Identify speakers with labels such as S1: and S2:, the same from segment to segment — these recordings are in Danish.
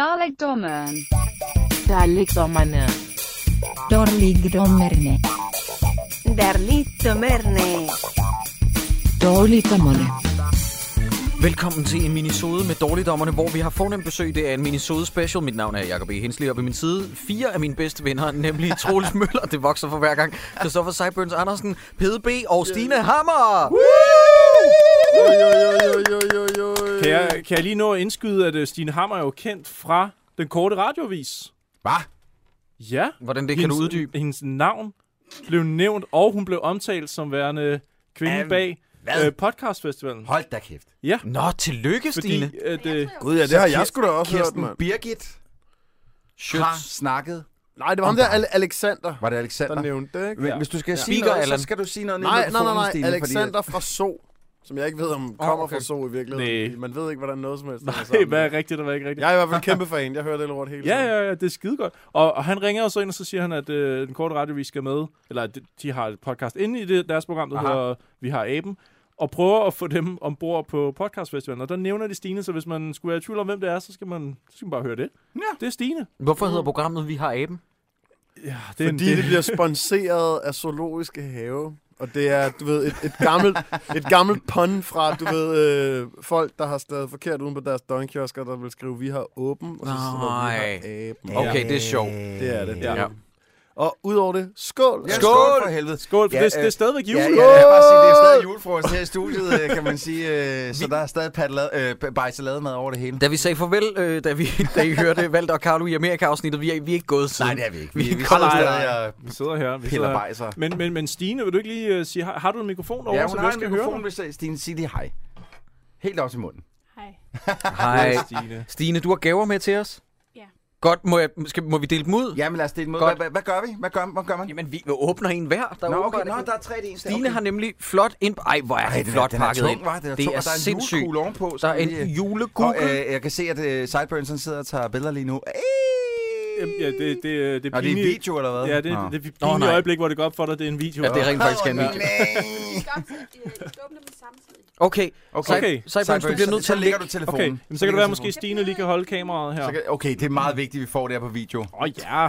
S1: Dalekdommeren.
S2: Dalekdommerne.
S3: Dårligdommerne.
S4: Derligdommerne.
S2: Dårligdommerne.
S5: Velkommen til en minisode med Dårligdommerne, hvor vi har fornemt besøg. Det er en minisode special. Mit navn er Jacob E. Hensley, og ved min side fire af mine bedste venner, nemlig Troels Møller, det vokser for hver gang, Christoffer Seiburns Andersen, Pede B. og Stine Hammer.
S6: Kan jeg, kan jeg lige nå at indskyde, at øh, Stine Hammer er jo kendt fra den korte radiovis?
S5: Hvad?
S6: Ja.
S5: Hvordan det kan du
S6: Hendes-
S5: uddybe?
S6: Hendes navn blev nævnt, og hun blev omtalt som værende kvinde
S7: Øhm,
S6: bag
S7: hvad?
S6: øh, podcastfestivalen.
S7: Hold da kæft.
S6: Ja,
S5: Nå, tillykke,
S6: fordi
S5: Stine.
S6: at, øh,
S8: Gud, ja, det har jeg sgu da også hørt,
S7: Kirsten
S8: mand.
S7: Birgit har
S5: Schütz.
S7: snakket.
S8: Nej, det var ham der, Al- Alexander,
S7: Var det
S8: der
S7: Alexander?
S8: nævnte det, ikke?
S7: Men hvis du skal sige
S5: Speaker,
S7: noget,
S5: Allan.
S7: så skal du sige noget ned i
S8: Nej, nej, nej,
S7: mikrofonen,
S8: nej.
S7: Stine,
S8: Alexander fra So, som jeg ikke ved, om kommer
S5: okay.
S8: fra So i virkeligheden.
S6: Næ.
S8: Man ved ikke, hvordan noget som helst hænger
S6: nej,
S8: sammen.
S6: hvad er rigtigt og hvad er ikke rigtigt?
S8: Jeg er i hvert fald kæmpe fan. Jeg hører det lort hele
S6: Ja,
S8: tiden.
S6: ja, ja, det er skidegodt. Og, og han ringer jo så ind, og så siger han, at øh, den korte radiovis skal med, eller at de, de har et podcast inde i det, deres program, der Aha. hedder Vi har aben, og prøver at få dem ombord på podcastfestivalen. Og der nævner de Stine, så hvis man skulle være i tvivl om, hvem det er, så skal man, så skal man bare høre det. Ja. Det er Stine.
S5: Hvorfor hedder programmet Vi har aben?
S6: Ja, det er
S8: Fordi det bliver sponsoreret af Zoologiske Have. Og det er, du ved, et, et gammelt, et gammelt pun fra, du ved, øh, folk, der har stadig forkert uden på deres døgnkiosker, der vil skrive, vi har åben, og så står der,
S5: Nej.
S8: vi har aben.
S5: Okay, det er sjovt.
S8: Det er det. det er
S6: Ja.
S8: det. Og udover det, skål!
S7: Ja, skål for helvede.
S6: Skål, for
S7: Ja,
S6: ja, det, det,
S7: øh,
S6: er stadigvæk jul.
S7: Ja, ja, jeg vil bare sige, det er stadig julefrokost her i studiet, øh, kan man sige. øh, Så der er stadig paddelad, øh, bajsalademad over det hele.
S5: Da vi sagde farvel, øh, da, vi, da I hørte Valter og Carlo i Amerika-afsnittet, vi er, vi er ikke gået siden.
S7: Nej, det er vi ikke.
S5: Vi-
S7: Vi,
S5: vi
S7: vi
S5: kommer
S7: kommer stadig og
S6: Vi sidder her. Vi
S7: piller
S6: sidder her.
S7: bajser.
S6: Men, men, men Stine, vil du ikke lige uh, sige, har, har du en mikrofon over, så
S7: Ja, hun
S6: vi
S7: har
S6: skal
S7: en
S6: høre
S7: mikrofon,
S6: dig?
S7: hvis det- Stine siger lige hej. Helt op til munden.
S5: Hej.
S6: Stine.
S5: Stine, du har gaver med til os?
S9: Ja.
S5: Godt, må, jeg, skal, må vi dele dem ud?
S7: Jamen lad os dele mod.
S5: Godt.
S7: Hvad, hvad, hvad gør vi? Hvad gør, hvad gør man?
S5: Jamen, vi åbner en hver. Der er
S7: Nå, okay,
S5: åbenbart-
S7: nå, der er tre i en.
S5: Stine har nemlig flot ind... Ej, hvor er
S7: Ej,
S5: han
S7: den er-
S5: flot
S7: den er
S5: pakket
S7: tung,
S5: ind.
S7: hva'? Den er
S5: det
S7: tung,
S5: er
S7: og der er en
S5: sindssygt.
S7: julekugle ovenpå, så
S5: Der er en
S7: vi lige-
S5: julekugle.
S7: Og, øh, jeg kan se, at øh, Sideburns han sidder og tager billeder lige nu. Ey!
S6: Jamen, Ja, det, det, det, det
S7: Nå, det er
S6: pinlige-
S7: video, eller hvad?
S6: Ja, det, det,
S7: Nå.
S6: det, det
S5: Nå,
S6: pinlige
S5: nej.
S6: øjeblik, hvor det går op for dig, det er en video.
S5: Ja, det er rent faktisk en
S7: Åh,
S5: video.
S7: nej.
S5: Okay,
S7: Okay.
S6: Okay.
S5: Cyburns, du bliver nødt til
S7: så
S5: at
S7: lægger
S5: lægge...
S7: du telefonen.
S6: Okay, men så kan det
S7: ligger
S6: være,
S7: du
S6: måske Stine lige kan holde kameraet her.
S7: telefonen. Så kan- Okay, det er meget vigtigt, at vi får det her på video.
S6: Åh oh, ja,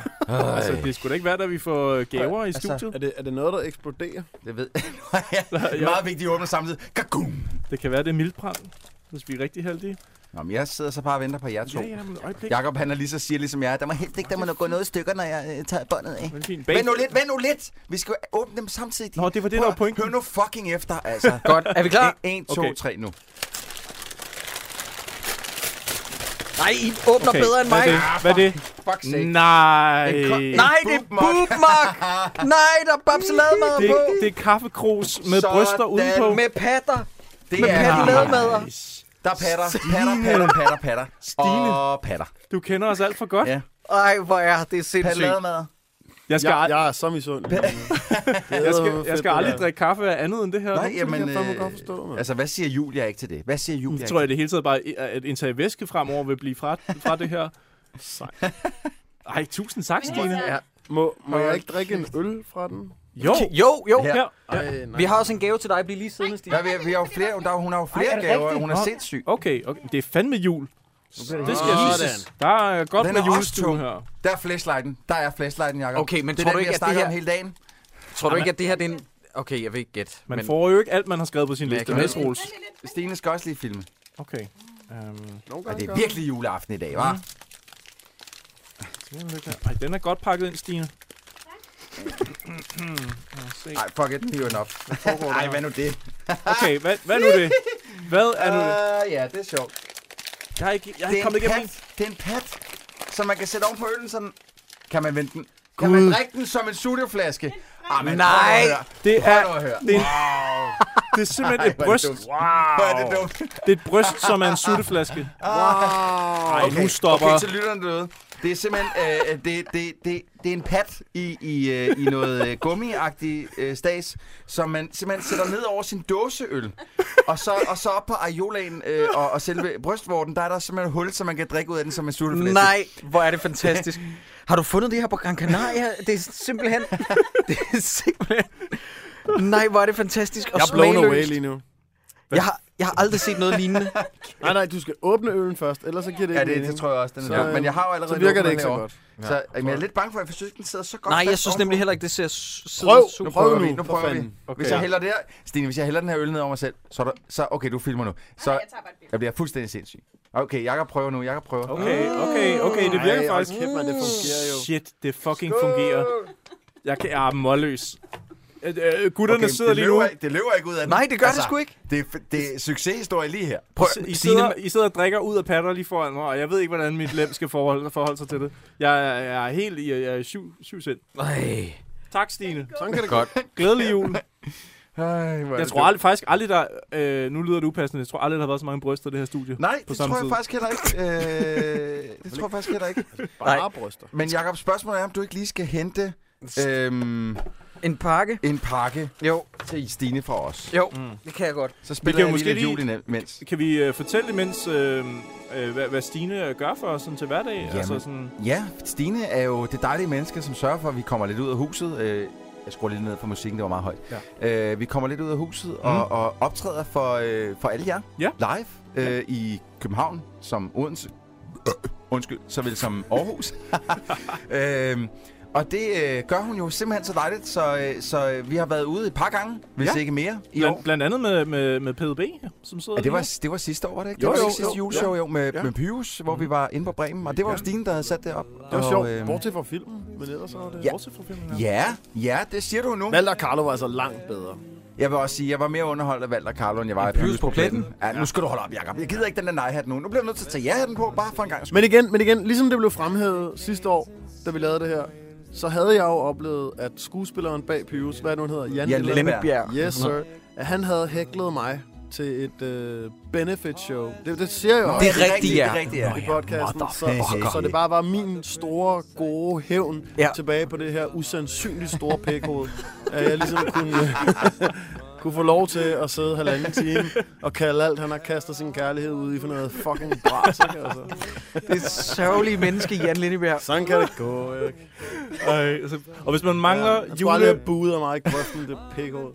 S6: altså, det skulle da ikke være, at vi får øh, gaver i studiet.
S8: Altså, Er det, er det noget, der eksploderer?
S7: Det ved jeg. meget vigtigt, at åbne samtidig. Kakum!
S6: Det kan være, det er mildbrand, hvis vi er rigtig heldige.
S7: Nå, men jeg sidder så bare og venter på jer to.
S6: Ja, ja, men øjeblik.
S7: Jakob, han er lige så sirlig som jeg. er. Der må helst ikke, der må nå- gå noget i stykker, når jeg øh, tager båndet af.
S6: Men fint.
S7: Vent nu lidt, vent nu lidt! Vi skal åbne dem samtidig.
S6: Nå, det var det,
S7: Prøv
S6: der var
S7: at-
S6: pointen.
S7: Hør nu fucking efter, altså.
S5: Godt, er vi klar?
S7: 1, 2,
S6: Okay.
S7: 3 nu.
S5: Nej, I åbner
S6: Okay,
S5: bedre end
S6: hvad
S5: mig.
S6: er det? Hvad er det?
S7: Ah, Fuck sake.
S6: Nej.
S7: En ko-
S5: Nej, det er
S7: Boobmark.
S5: boobmark! Nej, der er babsalademad
S6: Det,
S5: på!
S6: er- det er kaffekrus med
S7: Sådan.
S6: bryster udenpå.
S5: Med patter!
S7: Det
S5: Med paddelademader!
S6: Nice.
S7: Der er patter, patter, patter, patter, patter.
S6: Stine.
S7: Og patter.
S6: Du kender os alt for godt.
S7: Ja.
S5: Ej, hvor er det sindssygt.
S7: Paddelademad.
S6: Jeg skal,
S8: Jeg,
S6: al-
S8: jeg er så misundelig.
S6: jeg skal, jeg skal aldrig drikke kaffe af andet end det her.
S7: Nej,
S8: kan
S7: jamen,
S8: jeg fandme godt
S7: øh,
S8: forstå, mand.
S7: altså, hvad siger Julia ikke til det? Hvad siger Julia
S6: Jeg tror jeg det hele taget bare, at indtage væske fremover vil blive fra, fra det her. Sej. Ej, tusind tak, Stine.
S9: Ja.
S8: Må, må jeg ikke drikke en øl fra den?
S6: Jo,
S5: Jo, jo.
S7: Ja.
S6: her.
S8: Ej, nej.
S5: Vi har også en gave til dig. Bliv lige siddende, Stine.
S7: Ja, vi, vi har jo flere, der, hun har jo flere
S6: Ej, er det
S7: gaver,
S6: rigtigt?
S7: hun er
S6: Nå.
S7: sindssyg.
S6: Okay, okay, det er fandme jul. Det skal jeg
S8: Sådan.
S6: sige. Der er godt
S7: Den
S6: med
S7: er også
S6: julestue
S7: tung.
S6: her.
S7: Der er flashlighten. Der er flashlighten, Jacob.
S5: Okay, men
S7: det
S5: tror
S7: er
S5: du
S7: den,
S5: ikke,
S7: vi har
S5: at det
S7: snakket
S5: her-
S7: om hele dagen.
S5: Tror du ikke, at det her det er en... Okay, jeg vil ikke gætte.
S6: Man
S5: men-
S6: får jo ikke alt, man har skrevet på sin
S5: Men
S6: liste.
S5: jeg
S6: Med
S5: kan-
S6: Troels.
S7: Stine skal også lige filme.
S6: Okay. Um,
S7: Og det er virkelig juleaften i dag, hva'?
S6: Ej, den er godt pakket ind, Stine. Lad os se.
S7: Nej, fuck it, hiv den op. Nej, hvad nu det?
S6: Okay, hvad, hvad er nu det? Hvad er nu det?
S7: Uh, ja, det er sjovt.
S6: Jeg er ikke, jeg er
S7: Det
S6: ikke
S7: er,
S6: kommet
S7: en
S6: igennem
S7: pat.
S6: min...
S7: det er en pat, som man kan sætte oven på øllen sådan. Kan man vente den? Kan man drikke den som en sutteflaske? Ah, men,
S5: Nej.
S7: prøv nu at høre.
S6: Det
S7: Prøv nu
S6: er,
S7: at høre.
S6: det er, det er simpelthen et
S7: Hvor er
S6: bryst.
S7: det dumt. Hvor er det dumt.
S6: Det er et bryst, som er en sutteflaske. Ej,
S7: Okay,
S6: nu stopper...
S7: Okay, til lytterne derude. Det er simpelthen øh, øh, det, det, det, det er en pat i, i, øh, i noget øh, gummiagtig øh, stas, som man simpelthen sætter ned over sin dåseøl. Og så, og så op på areolaen øh, og, og selve brystvorten, der er der simpelthen hul, så man kan drikke ud af den som en sutteflæske.
S5: Nej, hvor er det fantastisk. Har du fundet det her på Gran Canaria? Det er simpelthen... det er simpelthen... Nej, hvor er det fantastisk og
S8: Jeg er blown away
S5: smagløst.
S8: lige nu.
S5: Jeg har, Jeg har aldrig set noget lignende.
S8: Nej, nej, du skal åbne øllen først, ellers så giver det
S7: Ja,
S8: ikke
S7: det,
S8: mening.
S7: det tror jeg også, den
S8: Så,
S7: er. Ja. Men jeg har jo allerede
S8: så virker
S7: åbnet
S8: det ikke så
S7: herovre.
S8: godt.
S7: Så, ja, men jeg er lidt bange for, at jeg synes, den sidder så godt
S5: Nej,
S7: fast
S5: jeg synes
S7: ovenpå.
S5: nemlig heller ikke, det ser s- sidder
S8: Prøv,
S5: super-
S8: prøv nu,
S7: Nu
S8: for
S7: prøver vi.
S8: fanden.
S7: Okay. Hvis jeg hælder det her, Stine, hvis jeg hælder den her øl ned over mig selv, så, er der, så okay, du filmer nu. Så
S1: Nej, jeg tager bare et billede.
S7: jeg bliver fuldstændig sindssyg. Okay, Jakob prøver nu, Jakob prøver.
S6: Okay, okay, okay, det virker
S8: Ej, hold
S6: faktisk.
S8: kæft, man, det fungerer jo.
S6: Shit, det fucking fungerer. Jeg, kan, jeg er målløs. Øh, øh, gutterne okay, sidder
S7: det,
S6: lige
S7: løber,
S6: nu.
S7: ikke- det løber ikke ud af den. Altså,
S5: Nej, det gør det sgu ikke.
S7: Det, er- det er succeshistorie lige her.
S5: Prøv,
S6: I
S5: Signe,
S6: sidder, I sidder og drikker ud af patter lige foran mig, og jeg ved ikke, hvordan mit lem skal forholde, forholde sig til det. Jeg, er- jeg er helt i jeg er i syv, syv sind.
S5: Nej.
S6: Tak, Stine.
S8: Sådan kan det
S5: Godt.
S6: Glædelig jul.
S7: Ej, hvor er
S6: Jeg
S7: det
S6: tror aldrig, faktisk aldrig, der... Øh, nu lyder det upassende. Jeg tror aldrig, der har været så mange bryster i det her studie.
S7: Nej,
S6: på
S7: det
S6: samme
S7: tror jeg
S6: tid.
S7: faktisk heller ikke. Øh, det tror jeg faktisk heller ikke.
S8: Bare bryster.
S7: Men Jakob, spørgsmålet er, om du ikke lige skal hente øhm,
S5: En pakke?
S7: en pakke
S5: Jo,
S7: til Stine fra os.
S5: jo,
S8: Mm.
S5: det kan jeg godt.
S7: Så
S6: Vi kan
S7: spiller
S6: jo
S7: jeg lige
S6: måske
S7: lidt
S6: lige-
S7: jul imens.
S6: Kan vi øh, fortælle imens, øh, øh, hvad, hvad Stine gør for os sådan, til hverdag? Jamen. Altså sådan...
S7: Ja, Stine er jo det dejlige menneske, som sørger for, at vi kommer lidt ud af huset. Øh, jeg skruer lidt ned for musikken, det var meget højt. Ja. Øh, vi kommer lidt ud af huset mm. og, og optræder for, øh, for alle jer
S6: Ja.
S7: live øh, i København, som Odense. Undskyld, såvel som Aarhus. øh, og det øh, gør hun jo simpelthen så dejligt, så, øh, så øh, vi har været ude et par gange, hvis
S6: Ja.
S7: ja. ikke mere, i år.
S6: Bland, blandt andet med, med, med PDB, som sidder
S7: Ja, det
S6: lige
S7: var, det var sidste år, var det ikke?
S6: Jo,
S7: det var
S6: jo,
S7: ikke sidste
S6: jo,
S7: juleshow jo, med,
S8: Ja.
S7: med Pyrus, hvor vi var inde på Bremen, og det var jo Stine, der havde sat det op.
S8: Det var
S7: Og,
S8: sjovt,
S7: øhm,
S8: bortset fra filmen, men ellers så var det...
S6: her. Bortset fra filmen her.
S7: Ja, ja, det siger du nu.
S8: Valder Carlo var altså langt bedre.
S7: Jeg vil også sige, jeg var mere underholdt af Valder Carlo, end jeg var af
S5: Pyrus
S7: Pyrus
S5: på
S7: på pletten. Ja, nu skal du holde op, Jacob. Jeg gider ikke den der nej-hat nu. Nu bliver du nødt til at tage ja-hatten på, bare for en gang.
S8: Men igen, men igen, ligesom det blev fremhævet sidste år, da vi lavede det her, så havde jeg jo oplevet, at skuespilleren bag Pyrus, hvad er det nu han hedder, Jan,
S7: Jan
S8: Lindberg.
S7: Lindberg.
S8: Yes, sir. At han havde hæklet mig til et øh, benefit show. Det, det siger jeg jo
S5: Det
S8: også
S5: er rigtigt, ja.
S7: Det er rigtigt, ja.
S8: i podcasten, så,
S7: motherfucker.
S8: så det bare var min store, gode hævn
S5: Ja.
S8: ja. tilbage på det her usandsynligt store pikhoved. at jeg ligesom kunne, kunne få lov til at sidde halvanden time og kalde alt, han har kastet sin kærlighed ud i for noget fucking bras, ikke? Altså.
S5: Det sørgelige menneske, Jan Lindebjerg.
S8: Sådan kan det gå, ikke?
S6: Ej, altså, og hvis man mangler ja,
S8: Jeg tror aldrig,
S6: jule...
S8: jeg buder mig i grøften, det pikhoved.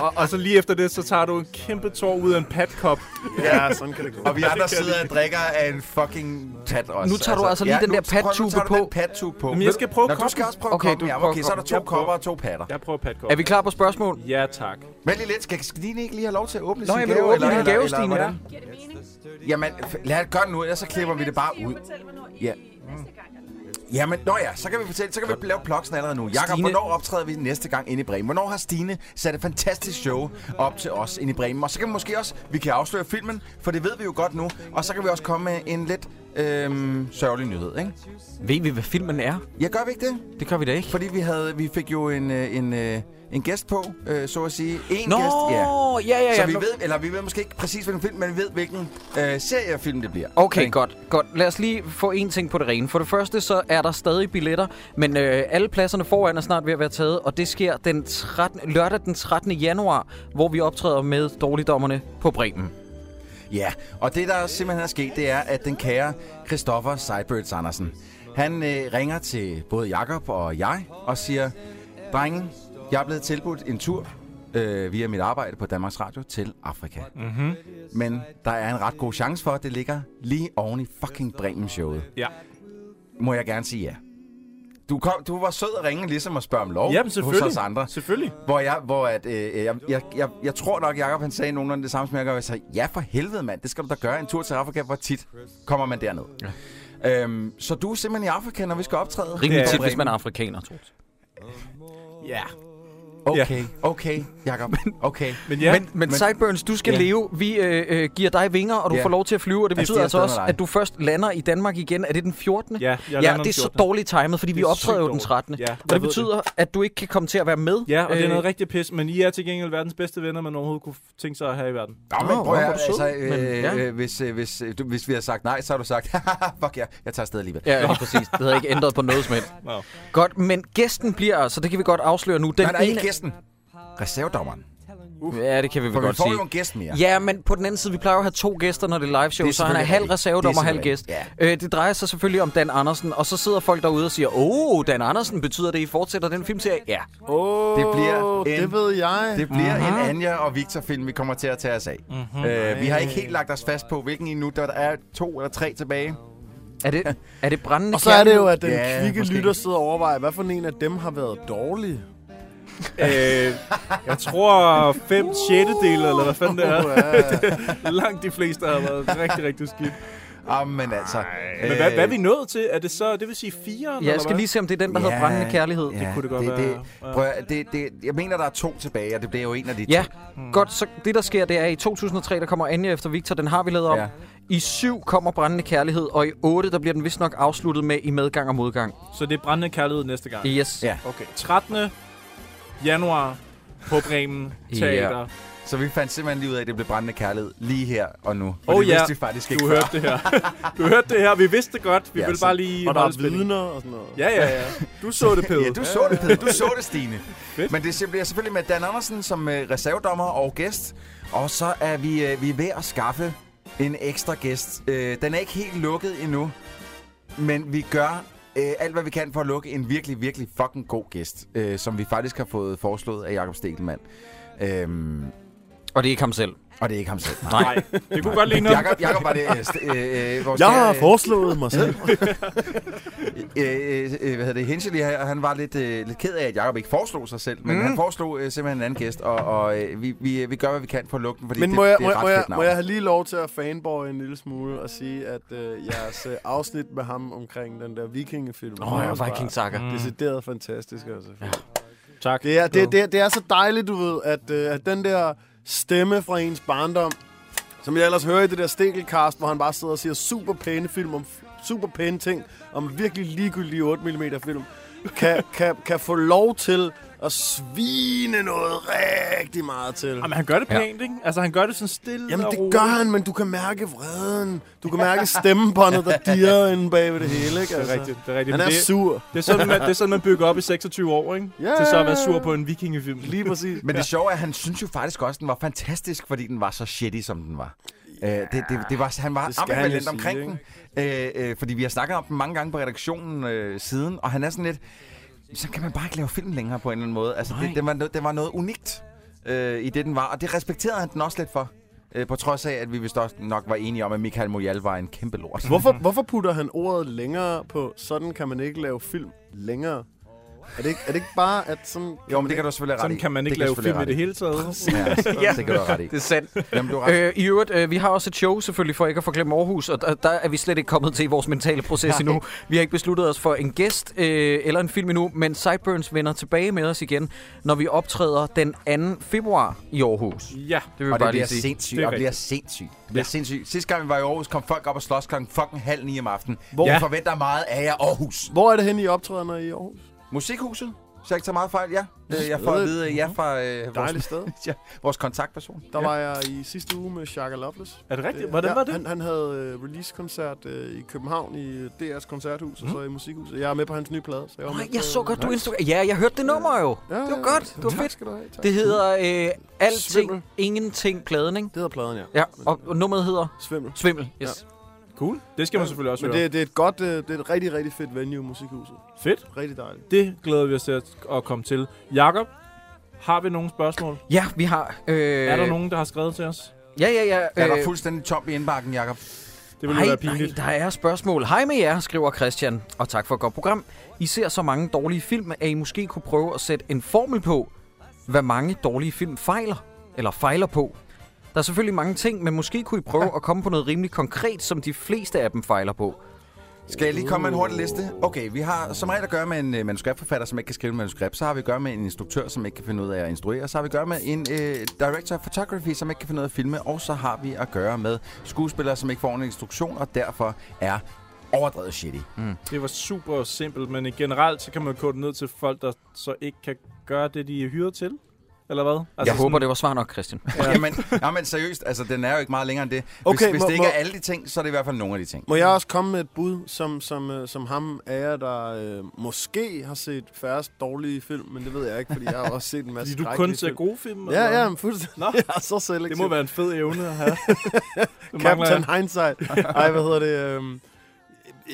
S6: Og, og, så lige efter det, så tager du en kæmpe tår ud af en patkop.
S8: Ja, sådan kan det gå.
S7: Og vi andre sidder og drikker af en fucking pat også.
S5: Nu tager du altså lige den
S7: nu
S5: der
S7: tror jeg,
S5: pattube
S7: nu tager du
S5: på.
S7: den pattube på.
S6: Jamen, jeg skal prøve
S7: Nå, du
S6: koppen.
S7: skal også prøve
S5: Okay,
S7: okay, koppen.
S5: du
S7: Ja,
S5: prøver
S7: okay, så er der
S5: koppen.
S7: to
S6: Jeg prøver-
S7: kopper og to patter.
S6: Jeg prøver patkop.
S5: Er vi klar på spørgsmål?
S6: Ja, tak.
S7: Vent lige lidt. Skal Stine ikke lige have lov til at åbne
S5: Nå,
S7: sin
S5: jeg
S7: gave?
S5: vil åbne
S7: eller-
S5: din
S7: eller-
S5: gave,
S7: eller
S5: Stine.
S7: hvordan?
S1: Giver det mening?
S7: Jamen, f- lad det gøre nu, ellers så klipper vi det bare ud.
S1: Fortæl mig, når I
S7: Ja.
S1: næste gang er live.
S7: Jamen, nå ja, så kan vi fortælle, så kan vi lave ploksen allerede nu. Jakob,
S5: Stine-
S7: Stine... hvornår optræder vi næste gang inde i Bremen? Hvornår har Stine sat et fantastisk show op til os inde i Bremen? Og så kan vi måske også, vi kan afsløre filmen, for det ved vi jo godt nu. Og så kan vi også komme med en lidt øhm, sørgelig nyhed, ikke?
S5: Ved vi, hvad filmen er?
S7: Ja, gør vi ikke det?
S5: Det gør vi da ikke.
S7: Fordi vi, havde, vi fik jo en, øh, en, øh, en gæst på, øh, så at sige. En
S5: Nå,
S7: gæst, ja.
S5: ja, ja, ja.
S7: Så vi ved, eller vi ved måske ikke præcis, hvilken film, men vi ved, hvilken øh, serie af film det bliver.
S5: Okay, godt, godt. Lad os lige få en ting på det rene. For det første, så er der stadig billetter, men øh, alle pladserne foran er snart ved at være taget, og det sker den 13, lørdag den 13. januar, hvor vi optræder med dårligdommerne på Bremen.
S7: Ja, og det der simpelthen er sket, det er, at den kære Christoffer Seidbirds Andersen, han øh, ringer til både Jakob og jeg og siger, drenge, jeg er blevet tilbudt en tur øh, via mit arbejde på Danmarks Radio til Afrika. Mm-hmm.
S5: Mhm.
S7: Men der er en ret god chance for, at det ligger lige oven i fucking Bremen-showet.
S6: Ja.
S7: Må jeg gerne sige ja. Du, kom, du var sød at ringe ligesom at spørge om lov
S6: Jamen,
S7: hos
S6: selvfølgelig.
S7: os andre.
S6: Selvfølgelig.
S7: Hvor jeg, hvor at, øh, jeg, jeg, jeg, jeg tror nok, Jacob han sagde nogenlunde det samme som jeg gør. Jeg sagde, ja for helvede mand, det skal du da gøre. En tur til Afrika, hvor tit kommer man derned? Ja. Øhm, så du er simpelthen i Afrika, når vi skal optræde?
S5: Rimelig
S6: Ja.
S5: tit, hvis man er afrikaner, tror jeg.
S6: Ja.
S7: Okay, okay, Jacob, okay.
S6: Men ja,
S5: Men, men, men Sideburns, du skal
S7: Ja.
S5: yeah. leve. Vi øh, øh, giver dig vinger, og du
S7: Ja.
S5: yeah. får lov til at flyve, og det
S7: Jeg
S5: betyder
S7: stiger
S5: altså
S7: afsted
S5: også,
S7: med dig.
S5: at du først lander i Danmark igen. Er det den 14.?
S6: Ja, jeg lander
S5: ja
S6: den
S5: det er så
S6: 14..
S5: dårligt timet, fordi
S6: Det
S5: vi
S6: er
S5: optræder
S6: sygt
S5: jo den
S6: dårligt.
S5: 13.
S6: Ja, jeg
S5: og det
S6: ved
S5: betyder, det. at du ikke kan komme til at være med.
S6: ja, og det er
S5: Øh,
S6: noget rigtig pis, men I er til gengæld verdens bedste venner, man overhovedet kunne f- tænke sig at have i verden.
S7: Nå,
S5: Nå,
S7: men prøv at
S5: hvor
S7: høre,
S5: er du sød.
S7: altså, øh,
S5: Men, ja.
S7: øh, hvis, øh, hvis, øh, du, hvis vi har sagt nej, så har du sagt, fuck ja, jeg tager afsted alligevel.
S5: Ja, lige præcis. Det havde ikke ændret på noget som helst.
S6: Nå.
S5: Godt, men gæsten bliver altså, det kan vi godt afsløre nu, den
S7: Nej, nej,
S5: ene...
S7: ikke gæsten. Reservedommeren.
S5: Ja, det kan vi
S7: For
S5: vel
S7: vi
S5: godt
S7: får
S5: sige.
S7: jo en gæst mere.
S5: Ja, men på den anden side, vi plejer jo at have to gæster, når det er live show,
S7: Det er
S5: så han er
S7: selvfølgelig
S5: halv
S7: rigtigt.
S5: reservedom
S7: Det er
S5: og halv gæst.
S7: selvfølgelig
S5: Øh, det drejer sig selvfølgelig om Dan Andersen, og så sidder folk derude og siger, åh, oh, Dan Andersen, betyder det, I fortsætter den filmserie? Ja.
S8: Oh,
S7: Det bliver en-
S8: det ved jeg.
S7: Det bliver en Anja og Victor-film, vi kommer til at tage os af.
S6: Mhm.
S7: Mm-hmm. Øh, vi har ikke helt lagt os fast på, hvilken endnu. Der er to eller tre tilbage.
S5: Er det, er det brændende
S8: Og så er det jo,
S5: kærlighed?
S8: at den
S7: Ja,
S8: ja, kvikke
S7: måske.
S8: lytter sidder og overvejer, hvad for en af dem har været dårlig.
S6: Øh, jeg tror 5 6. del, eller hvad fanden det er.
S8: Ja.
S6: Langt de fleste har været rigtig, rigtig skidt.
S7: Ah, men altså...
S6: Men hvad, hvad er vi nået til? Er det så, det vil sige 4?
S5: Øh. Ja, jeg skal lige se, om det er den, der hedder brændende kærlighed.
S7: Øh, Ja,
S6: Det kunne det godt
S7: det,
S6: være.
S7: Det, prøv, at- det, det, jeg mener, der er to tilbage, og det bliver jo en af de
S5: Ja,
S7: to.
S5: Hmm. godt. Så det, der sker, det er, at i 2003, der kommer Anja efter Victor. Den har vi lavet om.
S7: Ja.
S5: I 7 kommer Brændende Kærlighed, og i 8, der bliver den vist nok afsluttet med I medgang og modgang.
S6: Så det er brændende kærlighed næste gang.
S5: Yes.
S7: Ja.
S6: Okay. 13. januar på Bremen Teater.
S5: Ja.
S7: Så vi fandt simpelthen lige ud af, at det blev brændende kærlighed lige her og nu. Og
S6: Oh
S7: det
S6: ja,
S7: vidste vi faktisk ikke
S6: Du
S7: før.
S6: hørte det her. Du hørte det her. Vi vidste det godt. Vi
S7: Ja,
S6: ja, ville
S7: så-
S6: bare lige
S8: Og der
S6: holde
S8: er
S6: spændingen.
S8: vidner og sådan noget.
S6: Ja, ja, ja. Du så det, Pede.
S7: Ja, du så det, Peder. Du så det, Stine. Men det bliver selvfølgelig med Dan Andersen som øh, reservedommer og gæst. Og så er vi, øh, vi er ved at skaffe en ekstra gæst. Øh, den er ikke helt lukket endnu, men vi gør øh, alt, hvad vi kan for at lukke en virkelig, virkelig fucking god gæst, øh, som vi faktisk har fået foreslået af Jakob Stegelmann. Øhm,
S5: Og det er ikke ham selv.
S7: og det er ikke ham selv.
S6: Nej, det kunne godt ligne noget.
S7: Jakob, Jakob var det... Øh, st- øh, øh, vores
S8: Jeg
S7: kære,
S8: har
S7: øh,
S8: foreslået mig selv.
S7: øh, øh, øh, hvad hedder det, Hensley, han han var lidt, øh, lidt ked af, at Jacob ikke foreslog sig selv, men
S8: Mhm.
S7: han foreslog øh, simpelthen en anden gæst, og, og øh, vi, vi, øh, vi gør, hvad vi kan for at lukke den, fordi
S8: Men
S7: det,
S8: må jeg,
S7: det
S8: må,
S7: er
S8: jeg,
S7: et
S8: må,
S7: ret
S8: jeg,
S7: fedt
S8: må
S7: navn.
S8: jeg have lige lov til at fanboy en lille smule og sige, at øh, jeres øh, afsnit med ham omkring den der vikingefilm.
S5: Åh, oh, ja, Viking Saga.
S8: Mm. Decideret fantastisk, altså. Ja.
S6: Tak.
S8: Det, er, det, det, det er så dejligt, du ved, at, øh, at den der stemme fra ens barndom, som jeg ellers hører i det der stikkelcast, hvor han bare sidder og siger super pæne film om f- super pæne ting, om virkelig ligegyldige 8mm film, kan, kan, kan få lov til at svine noget rigtig meget til.
S6: Jamen, han gør det pænt, ikke? Altså, han gør det sådan stille
S8: Jamen,
S6: og
S8: det
S6: roligt.
S8: gør han, men du kan mærke vreden. Du kan mærke stemmebåndet, der dirrer inde bag ved det hele, ikke?
S6: Det er
S8: Altså.
S6: rigtigt, det er rigtigt.
S8: Han
S6: Men
S8: er
S6: det,
S8: sur.
S6: det, er sådan, man, det er sådan, man bygger op i 26 år, ikke?
S8: Ja.
S6: Til så at være sur på en vikingefilm.
S8: Lige præcis.
S7: Men det sjove er, at han synes jo faktisk også, at den var fantastisk, fordi den var så shitty, som den var. Øh, det, det, det var, han var
S8: Det
S7: det
S8: skal han jo
S7: ambivalent
S8: sige,
S7: omkring den, øh, øh, fordi vi har snakket om den mange gange på redaktionen øh, siden, og han er sådan lidt, så kan man bare ikke lave film længere på en eller anden måde. Altså, det, det, var, no- det var noget unikt øh, i det, den var, og det respekterede han den også lidt for. Øh, på trods af, at vi vist også nok var enige om, at Michael Moyal var en kæmpe lort.
S8: Hvorfor, hvorfor putter han ordet længere på, sådan kan man ikke lave film længere? Er det ikke, er det ikke bare, at sådan...
S7: Jo, men det kan du selvfølgelig have ret
S6: Sådan
S7: i.
S6: kan man ikke
S7: det
S6: lave film i det hele taget.
S7: hele. Ja, det kan du have ret i.
S5: Det er sandt.
S7: Jamen, du har ret.
S5: Øh, I øvrigt, øh, vi har også et show selvfølgelig, for ikke at forglemme Aarhus, og der, der er vi slet ikke kommet til i vores mentale proces endnu. Vi har ikke besluttet os for en gæst øh, eller en film endnu, men Sideburns vender tilbage med os igen, når vi optræder den 2. februar i Aarhus.
S6: Ja.
S5: Det vil jeg
S7: Og det
S5: bare lige
S7: bliver
S5: sige.
S7: sindssygt,
S6: Det er
S7: og det bliver sindssygt. Det bliver sindssygt. Sidste gang vi var i Aarhus, kom folk op og slås klokken fucking halv ni om aftenen. Hvor
S6: Ja.
S7: ja. forventer meget af jer Aarhus.
S8: Hvor er det henne, I optræder, når I er i Aarhus?
S7: Musikhuset, så jeg ikke tager meget fejl, ja. Øh, Jeg får at vide, at jeg er fra øh,
S8: Dejligt
S7: vores,
S8: sted.
S7: ja, vores kontaktperson.
S8: Der var jeg i sidste uge med Shaka Loveless.
S6: Er det rigtigt? Hvordan
S8: ja,
S6: var det?
S8: Han, han havde uh, release-koncert uh, i København i DR's koncerthus, og så i Musikhuset. Jeg er med på hans nye plade. Så jeg, var
S5: Nej,
S8: med
S5: Mhm. jeg
S8: på-
S5: så godt, du Instagram. Ja, jeg hørte det nummer jo.
S8: Ja,
S5: Det var
S8: ja,
S5: godt. Det var
S8: tak
S5: fedt.
S8: Skal du have, tak.
S5: Det hedder øh, Alting,
S8: Svimmel.
S5: Ingenting, Pladen, ikke?
S8: Det hedder pladen, ja.
S5: Ja, og, og nummeret hedder
S8: Svimmel.
S5: Svimmel. Yes.
S6: Cool. Det skal man selvfølgelig også
S8: Men
S6: høre.
S8: det, det er et godt, øh, det er et rigtig, rigtig fedt venue, Musikhuset.
S6: Fedt.
S8: Rigtig dejligt.
S6: Det glæder vi os til at- at komme til. Jakob, har vi nogle spørgsmål?
S5: Ja, ja vi har... Øh,
S6: Er der nogen, der har skrevet til os?
S5: Ja, ja, ja.
S7: Er
S6: Øh.
S7: der fuldstændig tom i indbakken, Jacob?
S6: Det ville
S5: Nej,
S6: jo være
S5: nej,
S6: pinligt.
S5: der er spørgsmål. Hej med jer, skriver Christian, og tak for et godt program. I ser så mange dårlige film, at I måske kunne prøve at sætte en formel på, hvad mange dårlige film fejler, eller fejler på. Der er selvfølgelig mange ting, men måske kunne I prøve at komme på noget rimelig konkret, som de fleste af dem fejler på.
S6: Altså
S7: Skal jeg lige komme med en hurtig liste? Okay, vi har som regel at gøre med en øh, manuskriptforfatter, som ikke kan skrive et manuskript. Så har vi at gøre med en instruktør, som ikke kan finde ud af at instruere. Så har vi at gøre med en øh, director of photography, som ikke kan finde ud af at filme. Og så har vi at gøre med skuespillere, som ikke får en instruktion, og derfor er overdrevet shitty.
S6: Det var super simpelt, men i generelt så kan man kode det ned til folk, der så ikke kan gøre det, de er hyret til. eller hvad? Altså,
S5: Jeg håber, det var svar nok, Christian.
S7: Ja. Jamen, jamen, seriøst, altså, den er jo ikke meget længere end det. Hvis,
S8: Okay,
S7: hvis
S8: må-
S7: det ikke
S8: må-
S7: er alle de ting, så er det i hvert fald nogle af de ting.
S8: Må jeg også komme med et bud, som, som, øh, som ham af jer, der øh, måske har set færrest dårlige film, men det ved jeg ikke, fordi jeg har også set en masse
S6: Fordi du kun
S8: skrækkelige
S6: ser
S8: film.
S6: gode film?
S8: Ja,
S6: eller hvad?
S8: ja, men fuldstændig.
S6: Nå,
S8: Jeg er så selektiv.
S6: det må være en fed evne at have. Det mangler
S8: Captain
S6: jeg.
S8: Hindsight. Ej, hvad hedder det? øhm,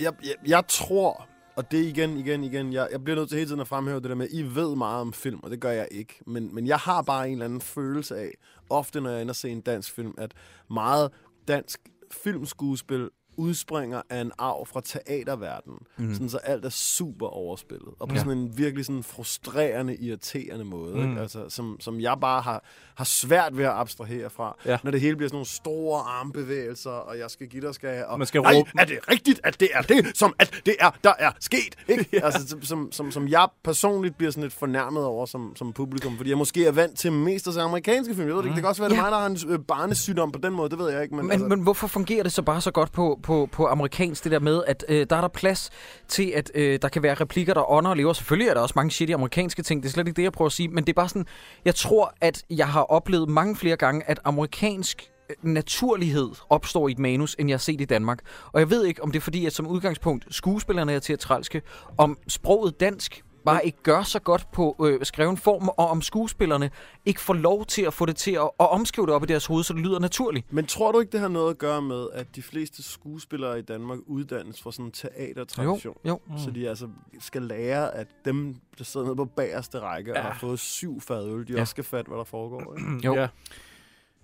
S8: Jeg, jeg, jeg tror, og det er igen, igen, igen, jeg, jeg bliver nødt til hele tiden at fremhæve det der med, I ved meget om film, og det gør jeg ikke. Men, men jeg har bare en eller anden følelse af, ofte når jeg ender og ser en dansk film, at meget dansk filmskuespil udspringer af en arv fra teaterverdenen.
S6: Mhm.
S8: Mm. Sådan så alt er super overspillet. Og på
S5: Ja.
S8: ja. sådan en virkelig sådan frustrerende, irriterende måde. Mm. Ikke? Altså, som, som jeg bare har, har svært ved at abstrahere fra.
S6: Ja.
S8: Ja. Når det hele bliver sådan nogle store armbevægelser, og jeg skal give dig skal jeg, og
S6: Man skal
S8: nej,
S6: råbe.
S8: er det rigtigt, at det er det, som at det er, der er sket? Ikke? ja. altså, som- som, som, som jeg personligt bliver sådan lidt fornærmet over som, som publikum, fordi jeg måske er vant til mest af amerikanske film. Jeg ved det ikke, det kan også være, det er
S5: Ja.
S8: mig, der har en øh, barnesygdom på den måde, det ved jeg ikke. Men,
S5: Mm. Men,
S8: altså,
S5: men, men hvorfor fungerer det så bare så godt på, på, på amerikansk, det der med, at øh, der er der plads til, at øh, der kan være replikker, der ånder og lever. Selvfølgelig er der også mange shitty amerikanske ting, det er slet ikke det, jeg prøver at sige, men det er bare sådan, jeg tror, at jeg har oplevet mange flere gange, at amerikansk øh, naturlighed opstår i et manus, end jeg har set i Danmark. Og jeg ved ikke, om det er fordi, at som udgangspunkt skuespillerne er teatralske, om sproget dansk bare ikke gør så godt på øh, skreven form, og om skuespillerne ikke får lov til at få det til at, at omskrive det op i deres hoved, så det lyder naturligt.
S8: Men tror du ikke, det har noget at gøre med, at de fleste skuespillere i Danmark uddannes fra sådan en teatertradition?
S5: Jo, Mm. jo.
S6: Mm.
S8: Så de altså skal lære, at dem, der sidder nede på bagerste række ja.
S6: Ja.
S8: og har fået syv fadøl, de
S5: Ja.
S8: ja. også skal fatte, hvad der foregår. Ikke?
S5: Jo.
S6: Ja.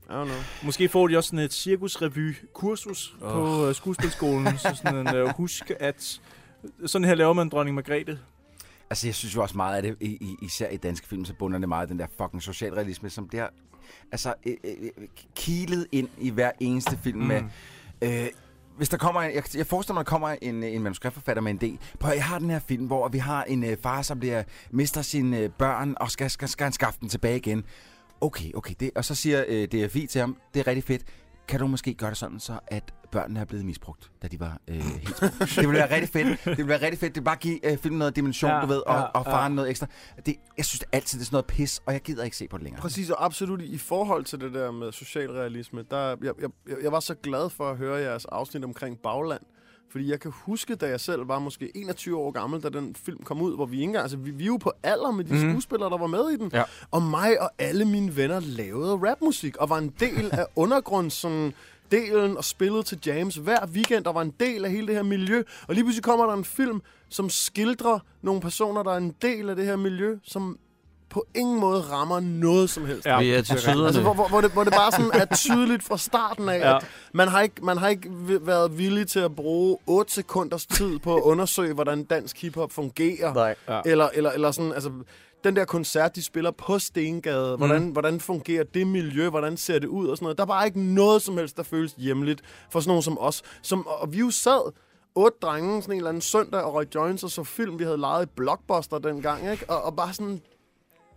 S8: I don't know.
S6: Måske får de også sådan et cirkusrevy-kursus oh. på uh, skuespilskolen. så sådan en uh, husk, at sådan her laver man dronning Margrethe.
S5: Mm.
S7: Altså, jeg synes jo også meget af det, i, i, især i danske film, så bunder det meget af den der fucking socialrealisme, som det har altså, øh, øh, kilet ind i hver eneste film mm. med... Øh, hvis der kommer en, jeg, jeg forestiller mig, der kommer en, en manuskriptforfatter med en idé. Prøv, at- jeg har den her film, hvor vi har en øh, far, som bliver, mister sine øh, børn, og skal, skal, skal han skaffe dem tilbage igen. Okay, okay. Det, og så siger øh, DFI til ham, det er rigtig fedt. Kan du måske gøre det sådan, så at børnene er blevet misbrugt, da de var øh, helt små? Det ville være rigtig fedt. Det ville være rigtig fedt. Det vil bare give øh, filmen noget dimension,
S6: Ja,
S7: ja, du ved, og,
S6: ja,
S7: ja, og
S6: ja.
S7: faren noget ekstra. Det, jeg synes altid, det er sådan noget pis, og jeg gider ikke se på det længere.
S8: Præcis, og absolut i forhold til det der med socialrealisme, der, jeg, jeg, jeg- jeg var så glad for at høre jeres afsnit omkring bagland. Fordi jeg kan huske, da jeg selv var måske 21 år gammel, da den film kom ud, hvor vi ikke engang... Altså, vi, vi er jo på alder med de mm. skuespillere, der var med i den.
S5: Ja.
S8: Og mig og alle mine venner lavede rapmusik, og var en del af undergrunds sådan, delen og spillede til jams hver weekend, og var en del af hele det her miljø. Og lige pludselig kommer der en film, som skildrer nogle personer, der er en del af det her miljø, som på ingen måde rammer noget som helst.
S5: Vi er til syderne.
S8: Altså, hvor, hvor, hvor, det, hvor det bare sådan er tydeligt fra starten af,
S6: Ja.
S8: ja. at man har, ikke, man har ikke vi- været villig til at bruge 8 sekunders tid på at undersøge, hvordan dansk hiphop fungerer.
S7: Nej.
S6: Ja.
S8: Eller, eller, eller sådan, altså, den der koncert, de spiller på Stengade, hvordan, mm. hvordan fungerer det miljø, hvordan ser det ud og sådan noget. Der var ikke noget som helst, der føles hjemligt for sådan nogen som os. Som, og vi jo sad otte drenge sådan en eller anden søndag og røg joints og så film, vi havde lejet i Blockbuster dengang, ikke? Og, og bare sådan,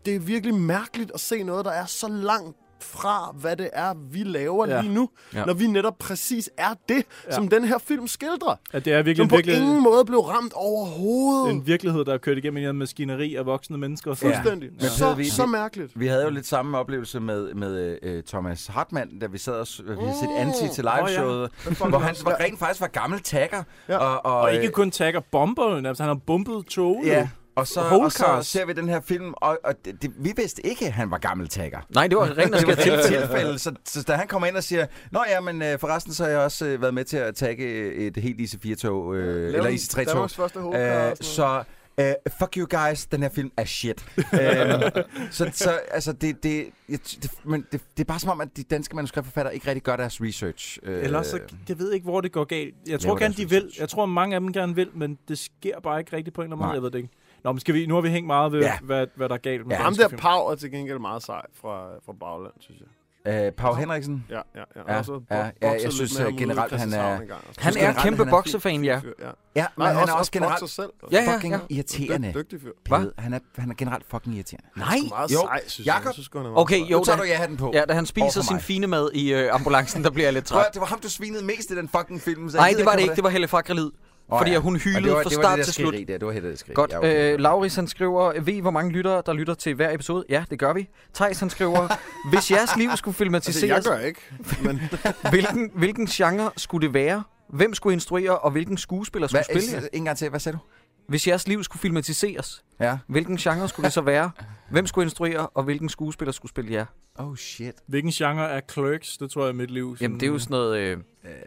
S8: det er virkelig mærkeligt at se noget, der er så langt fra, hvad det er, vi laver
S6: Ja.
S8: ja. lige nu,
S5: Ja.
S8: ja. når vi netop præcis er det,
S6: Ja.
S8: ja. som den her film skildrer.
S6: Ja, det er virkelig,
S8: Som
S6: en,
S8: på
S6: virkelig
S8: ingen måde blev ramt overhovedet.
S6: en virkelighed, der er kørt igennem en eller anden maskineri af voksne mennesker.
S7: Ja.
S8: Fuldstændig.
S7: Men
S8: Ja.
S7: Peder,
S8: Så,
S7: vi- Øh,
S8: så
S7: vi-
S8: mærkeligt.
S7: Vi havde jo lidt samme oplevelse med, med øh, Thomas Hartmann, da vi sad og s- vi havde set Anti til liveshowet, oh, ja. hvor han var rent faktisk var gammel tagger.
S8: Ja.
S7: Og,
S6: Og
S7: øh,
S6: ikke kun takker bomber, men altså, han har bumpet toget.
S7: Ja. Og så, og så
S6: Holdcast.
S7: ser vi den her film, og, og det, det, vi vidste ikke, at han var gammel tagger.
S5: Nej, det var rent og
S7: Det var
S5: skært
S7: til
S5: til.
S7: tilfælde, så, så da han kommer ind og siger, Nå ja, men øh, forresten så har jeg også øh, været med til at tagge øh, et helt IC4-tog, øh, eller IC3-tog.
S8: Danmarks første
S7: Øh,
S8: hovedkar.
S7: så uh, fuck you guys, den her film er shit. Øhm, så, så altså, det, det, jeg, det, men det, det er bare som om, at de danske manuskriptforfattere ikke rigtig gør deres research. Øh,
S6: Ellers så, jeg ved ikke, hvor det går galt. Jeg tror
S7: Laver
S6: gerne,
S7: deres
S6: de vil.
S7: research.
S6: Jeg tror, mange af dem gerne vil, men det sker bare ikke rigtigt på en eller anden måde.
S7: Nej.
S6: Jeg ved det ikke. Nå, men skal vi, nu har vi hængt meget ved,
S7: Ja.
S6: ja. hvad, hvad der er galt med
S7: Ja.
S6: ja.
S8: Ham der Pau er til gengæld meget sej fra, fra bagland, synes jeg.
S7: Øh, Pau Henriksen.
S8: Ja, ja, ja.
S7: Ja,
S8: Og så bo-
S7: ja, ja,
S8: boxede
S7: jeg
S8: lidt
S7: synes,
S8: med ham
S7: øh,
S8: ude i
S7: generelt, han er-
S8: Christianshavn engang og sådan
S5: Han
S7: Synes
S8: noget.
S5: er
S7: generelt,
S5: en kæmpe
S7: han er
S5: boksefan, ja.
S8: Fyr, ja.
S7: Ja, men
S8: Nej,
S7: han er også
S8: bokser
S7: generelt
S8: selv. altså.
S5: Ja, ja,
S7: fucking
S5: ja.
S7: irriterende.
S8: Dyg- Dygtig fyr.
S5: Hvad?
S7: Pede. Han er, han er generelt fucking irriterende.
S5: Nej.
S8: Meget
S7: Jo.
S8: sej, synes jeg.
S7: Jakob.
S8: Jeg synes godt, han er meget
S5: Okay,
S8: sej.
S5: jo,
S7: nu tager
S5: da,
S7: du ja hatten på.
S5: ja, da han
S7: Over
S5: spiser
S7: for
S5: sin
S7: mig.
S5: fine mad i øh, ambulancen, der bliver jeg lidt
S7: Prøv,
S5: træt.
S7: at- det var ham, du svinede mest i den fucking film. Så Altså, jeg
S5: Nej,
S7: gider
S5: det var det
S7: høre
S5: ikke. Det var Helle Fakrelid. oh, fordi ja. hun
S7: Og
S5: hylede
S7: det var,
S5: fra
S7: det
S5: start
S7: var det der
S5: til slut.
S7: skænderi der. Det var helt det skænderi.
S5: Godt.
S7: Ja,
S5: Ja,
S7: okay.
S5: øh, Lauris, han skriver, ved I, hvor mange lyttere, der lytter til hver episode? Ja, det gør vi. Thijs, han skriver, hvis jeres liv skulle
S8: Altså,
S5: filmatiseres,
S8: jeg gør ikke. Men
S5: hvilken, hvilken genre skulle det være? Hvem skulle instruere, og hvilken skuespiller skulle
S7: Hvad,
S5: Hvad, spille jer?
S7: en gang til, hvad sagde du?
S5: Hvis jeres liv skulle filmatiseres,
S7: Ja.
S5: hvilken genre skulle det så være? Hvem skulle instruere, og hvilken skuespiller skulle spille jer?
S7: Oh shit.
S6: Hvilken genre er Clerks? Det tror jeg er mit liv.
S5: Jamen, det er jo sådan noget, øh,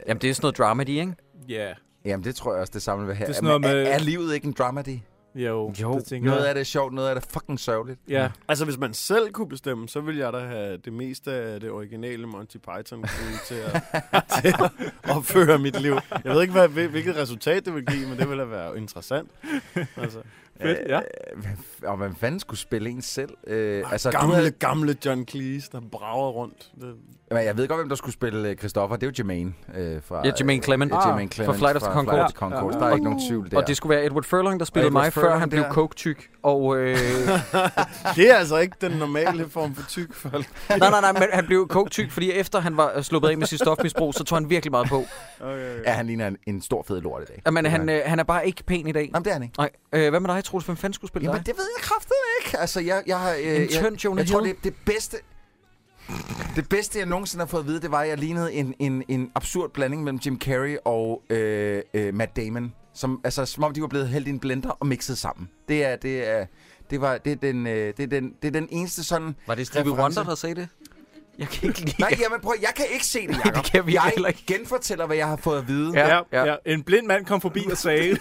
S5: jamen, det er sådan noget dramedy, ikke?
S6: Ja,
S7: Jamen, det tror jeg også, det samme vil have.
S6: Det er sådan noget
S7: Men
S6: med-
S7: er, er, livet ikke en dramedy?
S6: jo.
S5: Jo,
S6: det tænker
S7: Noget
S6: jeg.
S7: af det er sjovt, noget af det er fucking sørgeligt.
S6: Ja,
S8: altså, hvis man selv kunne bestemme, så ville jeg da have det meste af det originale Monty Python til at, til at opføre mit liv. Jeg ved ikke, hvad, hvil- hvilket resultat det vil give, men det ville da være interessant. Altså,
S6: fedt, ja.
S7: Øh, hvad- Og hvem fanden skulle spille en selv?
S6: Ah,
S7: Øh, altså, du
S8: gamle,
S7: havde,
S8: gamle John Cleese, der brager rundt. Det,
S7: men jeg ved godt, hvem der skulle spille øh, Christopher. Det er jo Jermaine. Øh, fra,
S5: Ja, Jermaine Clement.
S7: Øh,
S5: Ah,
S7: Jermaine Clement
S5: fra Flight of the Concorde.
S7: Flight of the Concorde. Der er ikke nogen tvivl der.
S5: Og det skulle være Edward Furlong, der spillede
S7: Edward
S5: mig, før
S7: Furlong
S5: han blev
S7: der.
S5: coke-tyk. Og, øh,
S8: det er altså ikke den normale form for tyk folk.
S5: nej, nej, nej, men han blev coke-tyk, fordi efter han var øh, sluppet af med sit stofmisbrug, så tog han virkelig meget på.
S8: Okay,
S7: Ja, han ligner en, en stor fed lort i dag.
S5: Men
S7: Det er
S5: han, øh, han er bare ikke pæn i dag.
S7: Jamen, det er han ikke.
S5: Nej, øh, hvad med dig, Troels? Hvem fanden skulle spille
S7: Jamen,
S5: dig?
S7: det ved jeg kraftedeme ikke. Altså, jeg, jeg har... Øh,
S5: En
S7: jeg,
S5: tynd Jonah
S7: jeg tror,
S5: Hill?
S7: det, det bedste... Det bedste, jeg nogensinde har fået at vide, det var, at jeg lignede en, en, en absurd blanding mellem Jim Carrey og øh, øh, Matt Damon. Som, altså, som om de var blevet hældt i en blender og mixet sammen. Det er, det er, det var, det er den, øh, det er den, det er den eneste sådan...
S5: Var det Stevie
S7: Reference.
S5: Wonder, der sagde det? Jeg kan ikke lide
S7: Nej, jamen prøv, jeg kan ikke se det, Jacob.
S5: det kan vi
S7: jeg
S5: heller ikke.
S7: genfortæller, hvad jeg har fået at vide.
S6: Ja,
S5: ja.
S6: ja, ja. En blind mand kom forbi og sagde,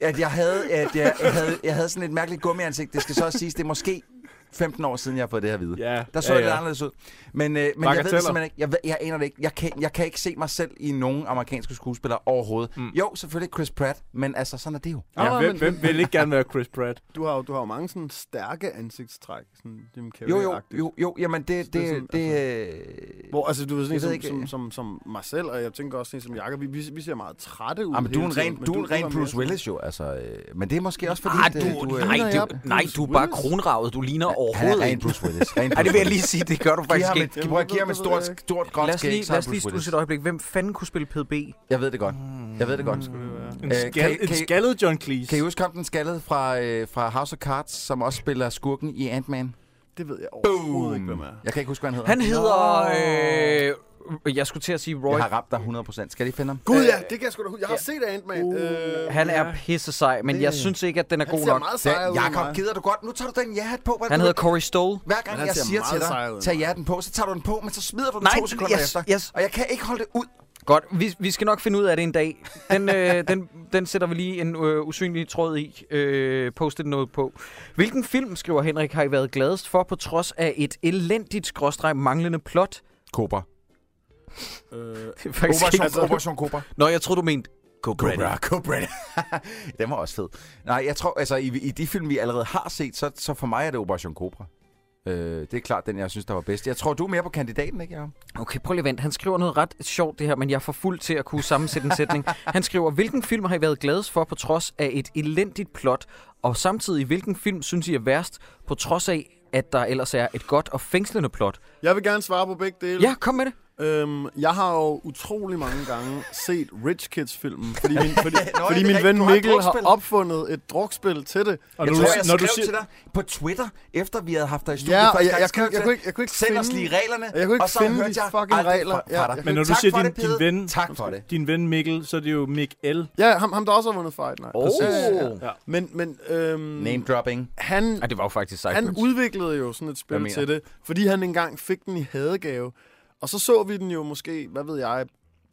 S7: at jeg havde, at jeg, jeg havde, jeg havde sådan et mærkeligt gummiansigt. Det skal så også siges, det er måske 15 år siden, jeg har fået det her at vide.
S6: Ja,
S7: Der så
S6: ja,
S7: jeg lidt
S6: ja.
S7: anderledes ud. Men, øh, men jeg ved
S6: Bagateller.
S7: det simpelthen ikke. Jeg, ved, jeg aner det ikke. Jeg kan, jeg kan ikke se mig selv i nogen amerikanske skuespillere overhovedet. Mm. Jo, selvfølgelig Chris Pratt, men altså, sådan er det jo.
S6: ja,
S8: Ah,
S6: hvem,
S8: men-
S6: hvem vil ikke gerne være Chris Pratt?
S8: Du har jo, du har jo mange sådan stærke ansigtstræk, sådan Jim Carrey
S7: Jo, jo, jo, jo jamen det, det,
S8: Det er
S7: det,
S8: sådan,
S7: det øh,
S8: Hvor, altså, du er sådan en
S7: Jeg ved
S8: som,
S7: ikke, øh.
S8: som,
S7: ja.
S8: som, som mig selv, og jeg tænker også sådan en som Jakob. Vi, vi, vi ser meget trætte ud.
S7: Jamen, du
S8: hele
S7: er en
S8: tiden,
S7: ren,
S8: men
S7: du er en ren
S8: var mere
S7: Bruce
S8: sådan-
S7: Willis jo, altså. øh, Men det er måske også fordi,
S5: Ah,
S7: at, øh,
S5: du,
S7: øh,
S5: nej,
S8: ligner
S5: du,
S8: jeg
S5: nej,
S8: Bruce
S5: du er bare
S8: Willis?
S5: kronravet. Du ligner
S7: han er
S5: overhovedet
S7: ren
S5: ikke.
S7: Bruce Willis. Ren
S5: Ej, det vil jeg
S7: Bruce
S5: lige sige, det gør du
S7: Willis.
S5: faktisk
S7: Giv ham
S5: ikke.
S7: et, prøv at give ham et
S8: Det ved jeg
S7: stort, stort, godt
S5: Lad os lige,
S7: skæg, så
S5: lad
S7: er
S5: os lige
S7: Bruce Willis.
S5: studse et øjeblik. Hvem fanden kunne spille PB?
S7: Jeg ved det godt. Jeg ved det godt.
S6: En,
S7: Øh, kan I-
S6: skal, en
S7: kan I-
S6: skaldet John Cleese.
S7: Kan I huske ham, den skaldede fra, øh, fra House of Cards, som også spiller skurken i Ant-Man?
S8: Det ved jeg overhovedet ikke, hvem er.
S7: Mm. Jeg kan ikke huske, hvad han hedder.
S5: Han hedder... Øh, jeg skulle til at sige Roy.
S7: Jeg har ramt dig 100%. Skal jeg lige finde ham?
S8: Gud ja, det kan jeg sgu da huske. Jeg har set Ant-Man. Uh, øh,
S5: Han er pisse sej, men jeg synes ikke, at den er
S8: han
S5: god
S8: ser
S5: nok.
S8: meget
S7: Da,
S8: sejere ud end
S7: Jakob,
S8: mig.
S7: gider du godt? Nu tager du den ja-hat på. Hvad
S5: Han
S7: du-
S5: hedder Corey Stoll.
S7: Hver
S8: Men
S7: gang
S8: han
S7: jeg
S8: ser
S7: siger til
S8: meget sej ud
S7: dig,
S8: end
S7: tag
S8: mig.
S7: ja-den på, så tager du den på, men så smider du den
S5: Nej,
S7: to sekunder
S5: yes,
S7: efter.
S5: yes.
S7: Og jeg kan ikke holde det ud.
S5: Godt, vi, vi skal nok finde ud af det en dag. Den, øh, den, den sætter vi lige en øh, usynlig tråd i. Øh, postet noget på. Hvilken film, skriver Henrik, har I været gladest for, på trods af et elendigt skråstreg manglende plot?
S7: Cobra.
S8: Øh,
S5: Det er faktisk
S7: Operation
S5: ikke-
S7: Cobra. Operation Cobra.
S5: Nå, jeg troede, du mente Cobra.
S7: Cobra, Cobra. den var også fed. Nej, jeg tror, altså i, i de film, vi allerede har set, så, så for mig er det Operation Cobra. Øh, det er klart den, jeg synes, der var bedst. Jeg tror, du er mere på kandidaten, ikke, Jacob?
S5: Okay, prøv lige at vente. Han skriver noget ret sjovt det her, men jeg er for fuld til at kunne sammensætte en sætning. Han skriver, hvilken film har I været gladest for på trods af et elendigt plot, og samtidig hvilken film synes I er værst på trods af, at der ellers er et godt og fængslende plot?
S8: jeg vil gerne svare på begge dele.
S5: Ja, kom med det.
S8: Øhm, jeg har jo utrolig mange gange set Rich Kids-filmen, fordi min, fordi,
S7: ja,
S8: fordi
S7: det er
S8: min
S7: rigtigt,
S8: ven
S7: du har et
S8: Mikkel har
S7: drukspil.
S8: opfundet et drukspil til det.
S6: Og
S7: Jeg
S6: når
S7: tror,
S6: du-
S7: jeg
S6: når du
S7: skrev
S6: siger-
S7: til dig på Twitter, efter vi havde haft dig i studiet.
S8: Ja,
S7: første
S8: og jeg,
S7: gang,
S8: jeg,
S7: skrev
S8: kunne, ikke- jeg,
S7: til
S8: kunne
S7: dig,
S8: ikke, jeg kunne ikke
S7: Send
S8: finde...
S7: os lige reglerne,
S8: jeg kunne ikke
S7: og så
S8: finde
S7: hørte
S8: de
S7: jeg
S8: fucking
S7: aldrig
S8: regler.
S7: Fra,
S8: Ja,
S7: fra
S8: jeg
S7: dig.
S6: Men når du
S7: tak
S6: siger
S7: for
S6: din,
S7: det, Pede.
S6: din, ven,
S7: Tak for det.
S6: din ven Mikkel, så er det jo Mik L.
S8: Ja, ham, ham der også har vundet Fight Night.
S5: Åh.
S8: Præcis. Ja, ja.
S6: Ja.
S8: Men, men øhm,
S7: Name dropping.
S8: han,
S5: Ej, det var jo faktisk sejt.
S8: han udviklede jo sådan et
S7: Hvad
S8: spil
S7: mener
S8: til det, fordi han engang fik den i hadegave. Og så så vi den jo måske, hvad ved jeg,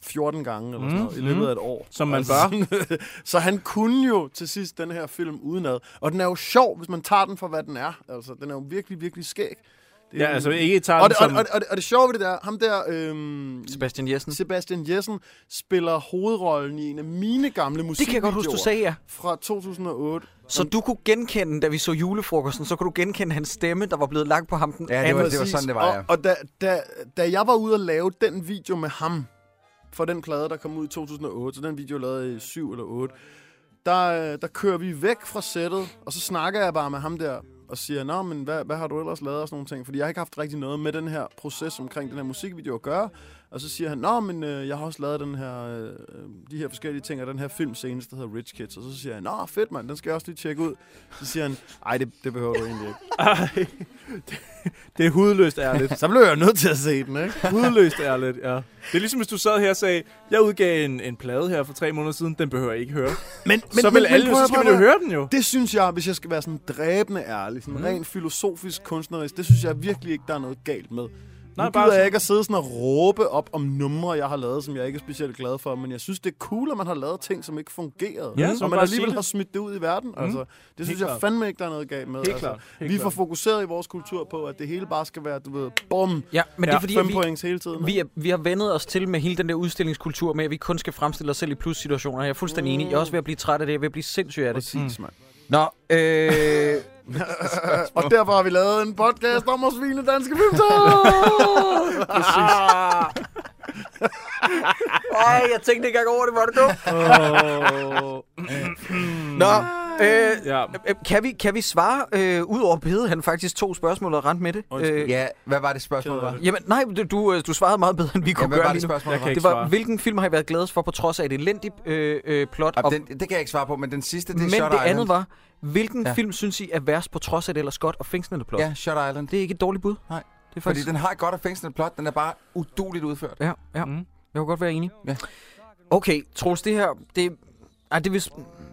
S8: 14 gange eller sådan
S6: Mm,
S8: noget, i løbet
S6: mm.
S8: af et år.
S6: Som man
S8: bør. så han kunne jo til sidst den her film udenad. Og den er jo sjov, hvis man tager den for, hvad den er. Altså, den er jo virkelig, virkelig skæg. Det er
S6: Ja,
S8: jo-
S6: altså ikke tager
S8: og
S6: den
S8: det, og,
S6: som...
S8: og, og, det, og det sjove ved det der, ham der, øhm,
S5: Sebastian Jessen.
S8: Sebastian Jessen, spiller hovedrollen i en af mine gamle
S5: Det kan jeg godt huske, du sagde, ja.
S8: Fra 2008.
S5: Så du kunne genkende, da vi så julefrokosten, så kunne du genkende hans stemme, der var blevet lagt på ham den
S7: Ja, det var,
S5: anden.
S7: det var
S8: Præcis.
S7: sådan, det var, ja.
S8: Og, og da, da, da jeg var ude og lave den video med ham, for den plade, der kom ud i 2008, så den video jeg lavede i 7 eller 8, der, øh, der kører vi væk fra sættet, og så snakker jeg bare med ham der, og siger, nå, men hvad, hvad har du ellers lavet og sådan nogle ting? Fordi jeg har ikke haft rigtig noget med den her proces omkring den her musikvideo at gøre. Og så siger han, nå, men øh, jeg har også lavet den her, øh, de her forskellige ting, og den her film senest, der hedder Rich Kids. Og så siger han, nå, fedt mand, den skal jeg også lige tjekke ud. Så siger han, nej, det, det behøver du egentlig ikke.
S6: Ej, det, det er hudløst ærligt.
S8: Så blev jeg nødt til at se den, ikke?
S6: Hudløst ærligt, ja. Det er ligesom, hvis du sad her og sagde, jeg udgav en, en plade her for tre måneder siden, den behøver jeg ikke høre.
S8: Men,
S6: Men, så vil alle,
S8: prøv
S6: så
S8: at-
S6: skal
S8: prøv
S6: man jo
S8: at-
S6: høre den jo.
S8: Det synes jeg, hvis jeg skal være sådan dræbende ærlig, sådan
S6: Mm.
S8: mm. rent filosofisk, kunstnerisk, det synes jeg virkelig ikke, der er noget galt med. Nej,
S6: Nej,
S8: nu
S6: bare
S8: gider jeg
S6: sådan-
S8: ikke at sidde sådan og råbe op om numre, jeg har lavet, som jeg ikke er specielt glad for, men jeg synes, det er cool, at man har lavet ting, som ikke fungerede. Mhm.
S6: Ja, så
S8: og
S6: bare
S8: man
S6: sige
S8: alligevel
S6: det. Mhm.
S8: har smidt det ud i verden. Mm. Altså, det synes jeg
S6: klart.
S8: fandme ikke, der er noget galt med.
S6: Helt
S8: altså.
S6: klart. Helt
S8: Vi er for
S6: klart.
S8: fokuseret i vores kultur på, at det hele bare skal være, du ved, bum,
S5: Ja, men det
S6: Ja,
S5: er fordi,
S8: fem
S5: at vi,
S8: points hele tiden.
S5: vi, er, vi har vendet os til med hele den der udstillingskultur med, at vi kun skal fremstille os selv i plussituationer. Jeg er fuldstændig enig. Jeg er også ved at blive træt af det. Jeg er ved at blive sindssyg af det.
S8: Præcis, mand.
S5: Nå, øh,
S8: Og derfor har vi lavet en podcast om at svine danske filmtal. Præcis.
S5: Ej, jeg tænkte ikke engang over det, var det dumt.
S6: Åh.
S5: Nå, øh,
S6: Ja.
S5: øh, kan, vi, kan vi svare, øh, ud over Pede, han faktisk to spørgsmål og rent med det. Øh,
S7: Ja, hvad var det spørgsmål,
S8: Ked af
S7: var?
S8: det.
S5: Jamen, nej, du- du, øh, du svarede meget bedre, end vi
S7: Ja,
S5: kunne
S7: hvad
S5: gøre
S7: var det
S5: lige nu.
S7: spørgsmål,
S6: Jeg
S7: der
S6: kan
S7: var?
S6: ikke
S5: Det
S6: svare.
S5: var, hvilken film har I været gladest for, på trods af et elendigt øh, øh, plot?
S7: Ah,
S5: Og,
S7: Den, det kan jeg ikke svare på, men den sidste, det er
S5: men
S7: Shut
S5: det
S7: Island.
S5: andet var, hvilken
S7: Ja.
S5: ja. film synes I er værst på trods af det, eller godt og fængslende plot?
S7: Ja, Shut Island.
S5: Det er ikke et dårligt bud.
S7: Nej.
S5: Det er
S7: Fordi
S5: faktisk...
S7: den har et godt og fængslende plot, den er bare uduligt udført.
S5: Ja, ja.
S6: Mm.
S5: Jeg kan godt være enig.
S7: Mhm. Ja.
S5: Okay, Troels, det her... Det... Ej, det vil...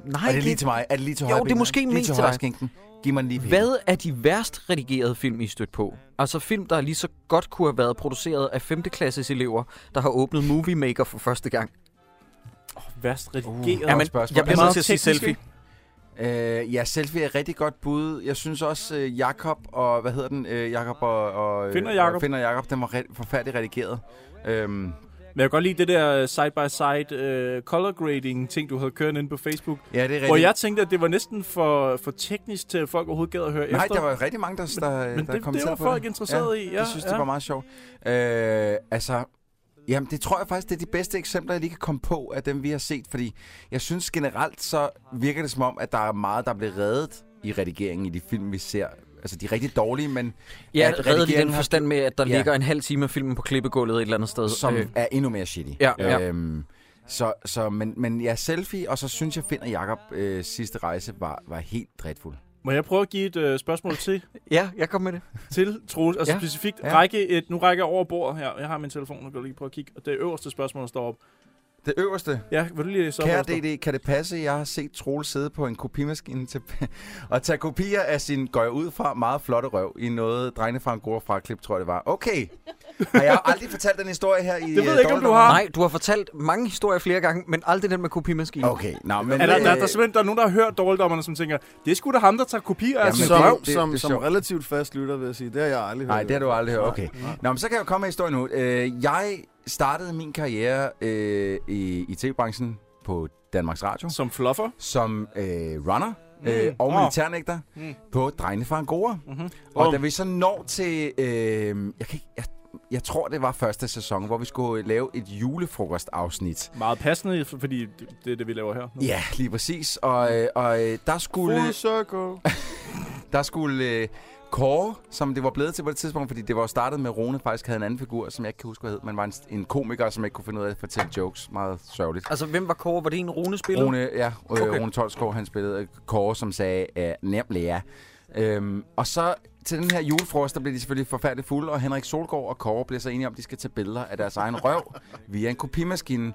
S5: Nej,
S7: Er det lige til mig? Er det lige til
S5: Jo,
S7: højrebenet?
S5: det er måske
S7: lige
S5: mest
S7: til
S5: til dig.
S7: højreskinken. Giv mig den lige
S5: Hvad er de værst redigerede film, I er stødt på? Altså film, der lige så godt kunne have været produceret af 5. klasses elever, der har åbnet Movie Maker for første gang.
S6: Værst redigeret.
S7: Ja, men spørgsmål.
S5: jeg bliver
S6: Meget
S5: nødt til at sige
S6: tekniske.
S5: selfie.
S7: Øh, ja, selfie er et rigtig godt bud. Jeg synes også, øh, Jakob og... Hvad hedder den? Øh, Jakob og... og øh,
S6: Finn og Jakob.
S7: og Finn og Jakob, den var re- forfærdeligt redigeret. Øhm,
S6: Men jeg kan godt lide det der øh, side-by-side øh, color grading ting, du havde kørt inde på Facebook.
S7: ja, det er
S6: Hvor
S7: rigtigt.
S6: jeg tænkte, at det var næsten for, for teknisk til, at folk overhovedet gad at høre
S7: Nej,
S6: efter.
S7: der var rigtig mange, der, der,
S6: men
S7: der
S6: det, det
S7: kommenterede
S6: var
S7: på
S6: folk
S7: det.
S6: interesseret i. Ja,
S7: jeg synes,
S6: ja.
S7: det var meget sjovt. Øh, altså, jamen det tror jeg faktisk, det er de bedste eksempler, jeg lige kan komme på af dem, vi har set. Fordi jeg synes generelt, så virker det som om, at der er meget, der bliver reddet i redigeringen i de film, vi ser. Altså, de er rigtig dårlige, men
S5: Ja,
S7: at
S5: reddet i
S7: redigeringen
S5: den
S7: har-
S5: forstand med, at der
S7: Ja.
S5: ja. ligger en halv time af filmen på klippegulvet et eller andet sted.
S7: som
S5: Øh,
S7: er endnu mere shitty.
S5: ja, ja.
S7: Øhm, så, så, men, men ja, selfie, og så synes jeg, Finn og Jacob øh, sidste rejse var, var helt drætfuld.
S6: Må jeg prøve at give et øh, spørgsmål til,
S5: ja, jeg kom med det.
S6: til Troels? Altså ja.
S5: Ja,
S6: specifikt, ja.
S7: ja.
S6: række et, nu rækker jeg over bordet her. Jeg har min telefon, nu kan du lige prøve at kigge. Og det øverste spørgsmål, der står op.
S7: Det øverste.
S6: Ja, vil du lige så?
S7: Kære DD, kan det passe, jeg har set Troel sidde på en kopimaskine til, og tage kopier af sin, går jeg ud fra, meget flotte røv i noget drengene fra en god fra klip, tror jeg det var. Okay. Har jeg aldrig fortalt den historie her i øh,
S6: ved jeg ikke, om du
S7: Ah.
S6: har.
S5: Nej, du har fortalt mange historier flere gange, men aldrig den med kopimaskinen.
S7: Okay, nå, men...
S6: Er der, der, der,
S7: øh,
S6: er simpelthen, der er nogen, der har hørt dårligdommerne, som tænker, det er sgu da ham, der tager kopier af
S7: Jamen,
S6: sin
S7: så-
S6: røv.
S8: Som,
S7: det- det-
S8: som,
S7: det er
S8: som
S7: sjovt.
S8: relativt fast lytter, vil jeg sige. Det har jeg aldrig hørt.
S7: Nej, det har du aldrig hørt. Okay.
S8: Nej.
S7: Nå, men så kan jeg jo komme med historien nu. Øh, jeg startede min karriere øh, i, i tv-branchen på Danmarks Radio.
S6: Som fluffer.
S7: som øh, runner øh,
S6: Mm.
S7: og
S6: Nå.
S7: militærnægter
S6: Mm.
S7: på Drengene fra Angora.
S6: Mhm.
S7: Og
S6: Bum.
S7: da vi så når til, øh, jeg, kan ikke, jeg, jeg tror det var første sæson, hvor vi skulle lave et julefrokostafsnit.
S6: Meget passende, for- fordi det, det er det, vi laver her.
S7: Ja, lige præcis. Og, øh, og øh, der skulle,
S8: Full circle.
S7: der skulle øh, Kåre, som det var blevet til på det tidspunkt, fordi det var jo startet med, at Rone faktisk havde en anden figur, som jeg ikke kan huske, hvad hed, men var en, en komiker, som ikke kunne finde ud af at fortælle jokes. Meget sørgeligt.
S5: Altså, hvem var Kåre? Var det en Rune spiller?
S7: Rune, ja, øh,
S5: Okay.
S7: Rune Tolsgaard, han spillede øh, Kåre, som sagde, øh, nemlig ja. Øhm, og så til den her julefrost, der blev de selvfølgelig forfærdeligt fulde, og Henrik Solgaard og Kåre bliver så enige om, at de skal tage billeder af deres egen røv via en kopimaskine.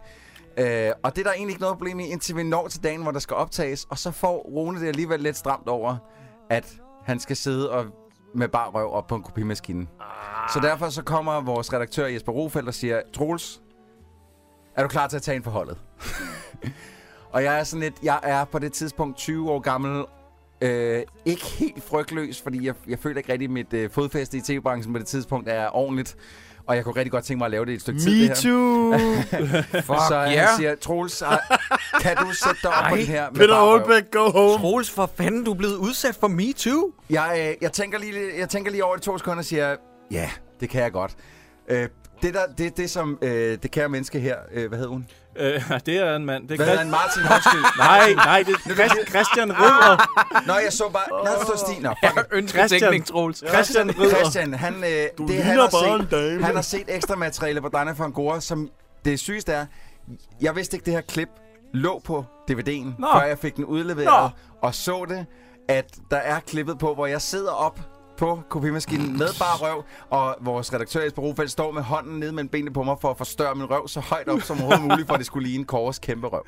S7: Øh, og det er der egentlig ikke noget problem i, indtil vi når til dagen, hvor der skal optages, og så får Rune det alligevel lidt stramt over, at han skal sidde og med bare røv op på en kopimaskine. Så
S8: Ah.
S7: derfor så kommer vores redaktør Jesper Rofeldt og siger, Troels, er du klar til at tage ind på holdet? og jeg er sådan lidt, jeg er på det tidspunkt 20 år gammel, øh, ikke helt frygtløs, fordi jeg, jeg føler ikke rigtig, at mit øh, fodfæste i tv-branchen på det tidspunkt er ordentligt. Og jeg kunne rigtig godt tænke mig at lave det i et stykke tid, det
S8: Me
S7: her.
S8: too.
S5: Fuck,
S7: så
S5: ja.
S7: han siger, Troels, ah, kan du sætte dig op på
S5: Ej,
S7: den her? med
S8: Peter
S7: bare røv?"
S8: Oldbæk, go home.
S5: Troels, for fanden, du er blevet udsat for Me Too.
S7: Jeg, øh, jeg, tænker lige, jeg tænker lige over det i to sekunder og siger, ja, det kan jeg godt. Øh, det, der, det, det som øh, det kære menneske her, øh, hvad hed hun?
S6: Øh, det er en mand. Det er
S7: Hvad hedder
S6: Christ-
S7: han? Martin Højskyld?
S6: Nej, nej, det er Christ- Christian Ridder.
S7: Nå, jeg så bare... Nå, der står Stine. Nå, fuck it.
S5: Ønskedækning, Troels.
S6: Christian Ridder.
S7: Christian, han, øh,
S8: Du
S7: det, han,
S8: ligner
S7: har
S8: bare
S7: set,
S8: en dame.
S7: han har set ekstra materiale på Dana Fangora, som det sygeste er, jeg vidste ikke, det her klip lå på DVD'en,
S6: Nå.
S7: Nå. før jeg fik den udleveret, Nå. og så det, at der er klippet på, hvor jeg sidder op på kopimaskinen med bare røv, og vores redaktør Jesper Rufeldt står med hånden nede mellem benene på mig for at forstørre min røv så højt op som overhovedet muligt, for at det skulle ligne Kåres kæmpe røv.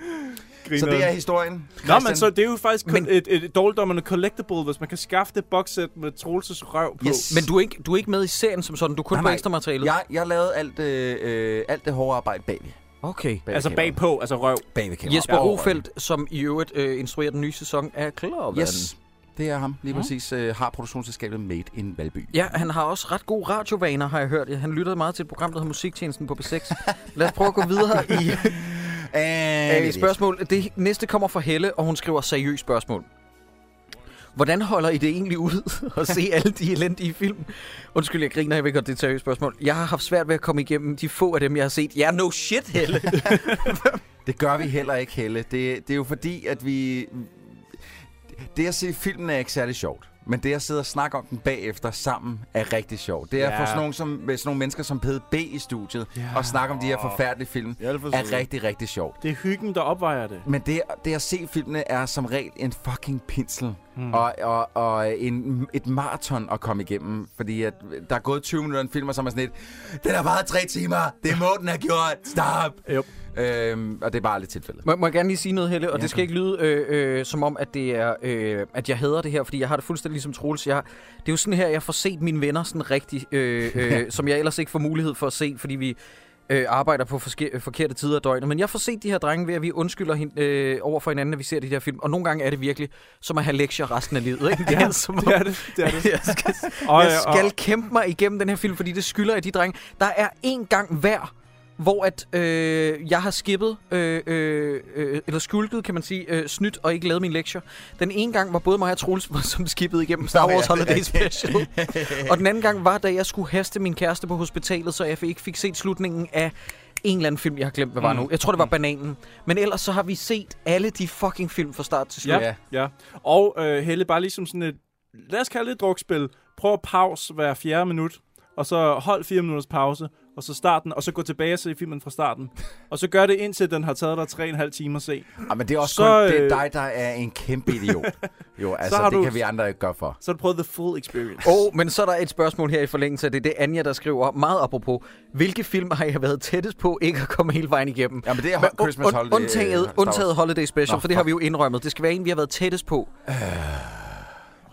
S7: Så det er historien.
S6: Nå, men
S7: Christian.
S6: så det er jo faktisk kun
S5: Men-
S6: et, et, et dårligdommerne collectible, hvis man kan skaffe det boxset med Troelses røv på.
S7: Yes.
S5: Men du er, ikke, du er ikke med i serien som sådan, du er kun
S7: Nej,
S5: på
S7: nej.
S5: ekstra materialet.
S7: Jeg, jeg lavede alt, øh, øh, alt det hårde arbejde bagved.
S5: Okay.
S7: bagved
S6: Altså
S7: kameraet.
S6: bagpå, altså røv.
S7: bagved kameraet.
S5: Jesper
S7: Ja, over-
S5: Rofeldt, som i øvrigt øh, instruerer den nye sæson af Club.
S7: Yes, det er ham. Lige præcis øh, har produktionsselskabet Made in Valby.
S5: Mm. Ja, han har også ret gode radiovaner, har jeg hørt. Han lyttede meget til et program, der hedder Musiktjenesten på B6. Lad os prøve at gå videre i
S7: Æh,
S5: øh, spørgsmål. Det næste kommer fra Helle, og hun skriver seriøst spørgsmål. Hvordan holder I det egentlig ud at se alle de elendige film? Undskyld, jeg griner, jeg ved godt, det er et seriøst spørgsmål. Jeg har haft svært ved at komme igennem de få af dem, jeg har set. Ja, no shit, Helle.
S7: Det gør vi heller ikke, Helle. Det, det er jo fordi, at vi... Det at se filmen er ikke særlig sjovt. Men det at sidde og snakke om den bagefter sammen er rigtig sjovt. Det er
S6: Ja.
S7: for sådan nogle, som, med sådan nogle mennesker som PDB i studiet
S6: Ja.
S7: og snakke om de her
S5: Ah.
S7: forfærdelige film
S8: Jeg er alt for
S7: er
S8: sød.
S7: rigtig, rigtig sjovt.
S6: Det er hyggen, der opvejer det.
S7: Men det, det at se filmene er som regel en fucking pinsel.
S6: Mm.
S7: og, og, og en, et maraton at komme igennem. Fordi at, der er gået 20 minutter af en film, og så er man sådan lidt, den har varet tre timer, det må den have gjort, stop!
S6: Yep.
S7: Øhm, og det er bare lidt tilfældet.
S5: Må, må jeg gerne lige sige noget, Helle? Og ja, det skal ikke lyde øh, øh, som om, at det er, øh, at jeg hader det her, fordi jeg har det fuldstændig ligesom Troels. Jeg, det er jo sådan her, jeg får set mine venner sådan rigtig, øh, øh, som jeg ellers ikke får mulighed for at se, fordi vi øh, arbejder på forske- øh, forkerte tider af døgnet. Men jeg får set de her drenge ved, at vi undskylder hin- øh, over for hinanden, at vi ser de her film. Og nogle gange er det virkelig som at have lektier resten af livet. Ikke? Det er som om-
S6: Det er det, det er det.
S5: jeg skal,
S6: Og,
S5: jeg
S6: øh,
S5: skal kæmpe mig igennem den her film, fordi det skylder jeg de drenge. Der er en gang hver, hvor at, øh, jeg har skippet, øh, øh, øh, eller skulket, kan man sige, øh, snydt og ikke lavet min lektier. Den ene gang var både mig og Troels, som skippede igennem Star
S7: Nå, ja,
S5: Wars
S7: det er
S5: Holiday Special. og den anden gang var, da jeg skulle haste min kæreste på hospitalet, så jeg ikke fik set slutningen af en eller anden film, jeg har glemt, hvad var
S6: Mm.
S5: nu. Jeg tror, det var Bananen. Men ellers så har vi set alle de fucking film fra start til slut.
S6: Ja, ja. Og øh, Helle, bare ligesom sådan et, lad os kalde det et drukspil. Prøv at pause hver fjerde minut, og så hold fire minutters pause, og så starten, og så gå tilbage og se filmen fra starten. Og så gør det indtil den har taget dig tre og en halv time at se.
S7: Ja, Ah, men det er
S6: Så,
S7: også så, kun, det
S6: øh,
S7: er dig, der er en kæmpe idiot. jo, altså,
S6: har
S7: det
S6: du-
S7: kan vi andre ikke gøre for.
S6: Så har du prøvet the full experience.
S5: Åh, oh, men så er der et spørgsmål her i forlængelse af det. Det er Anja, der skriver meget apropos. Hvilke film har jeg været tættest på ikke at komme hele vejen igennem?
S7: Ja, men det er
S5: Men
S7: Hot Christmas
S5: und-
S7: Holiday. øh,
S5: undtaget,
S7: Star Wars.
S5: undtaget Holiday Special,
S7: Nå,
S5: for det har vi jo indrømmet. Det skal være en, vi har været tættest på.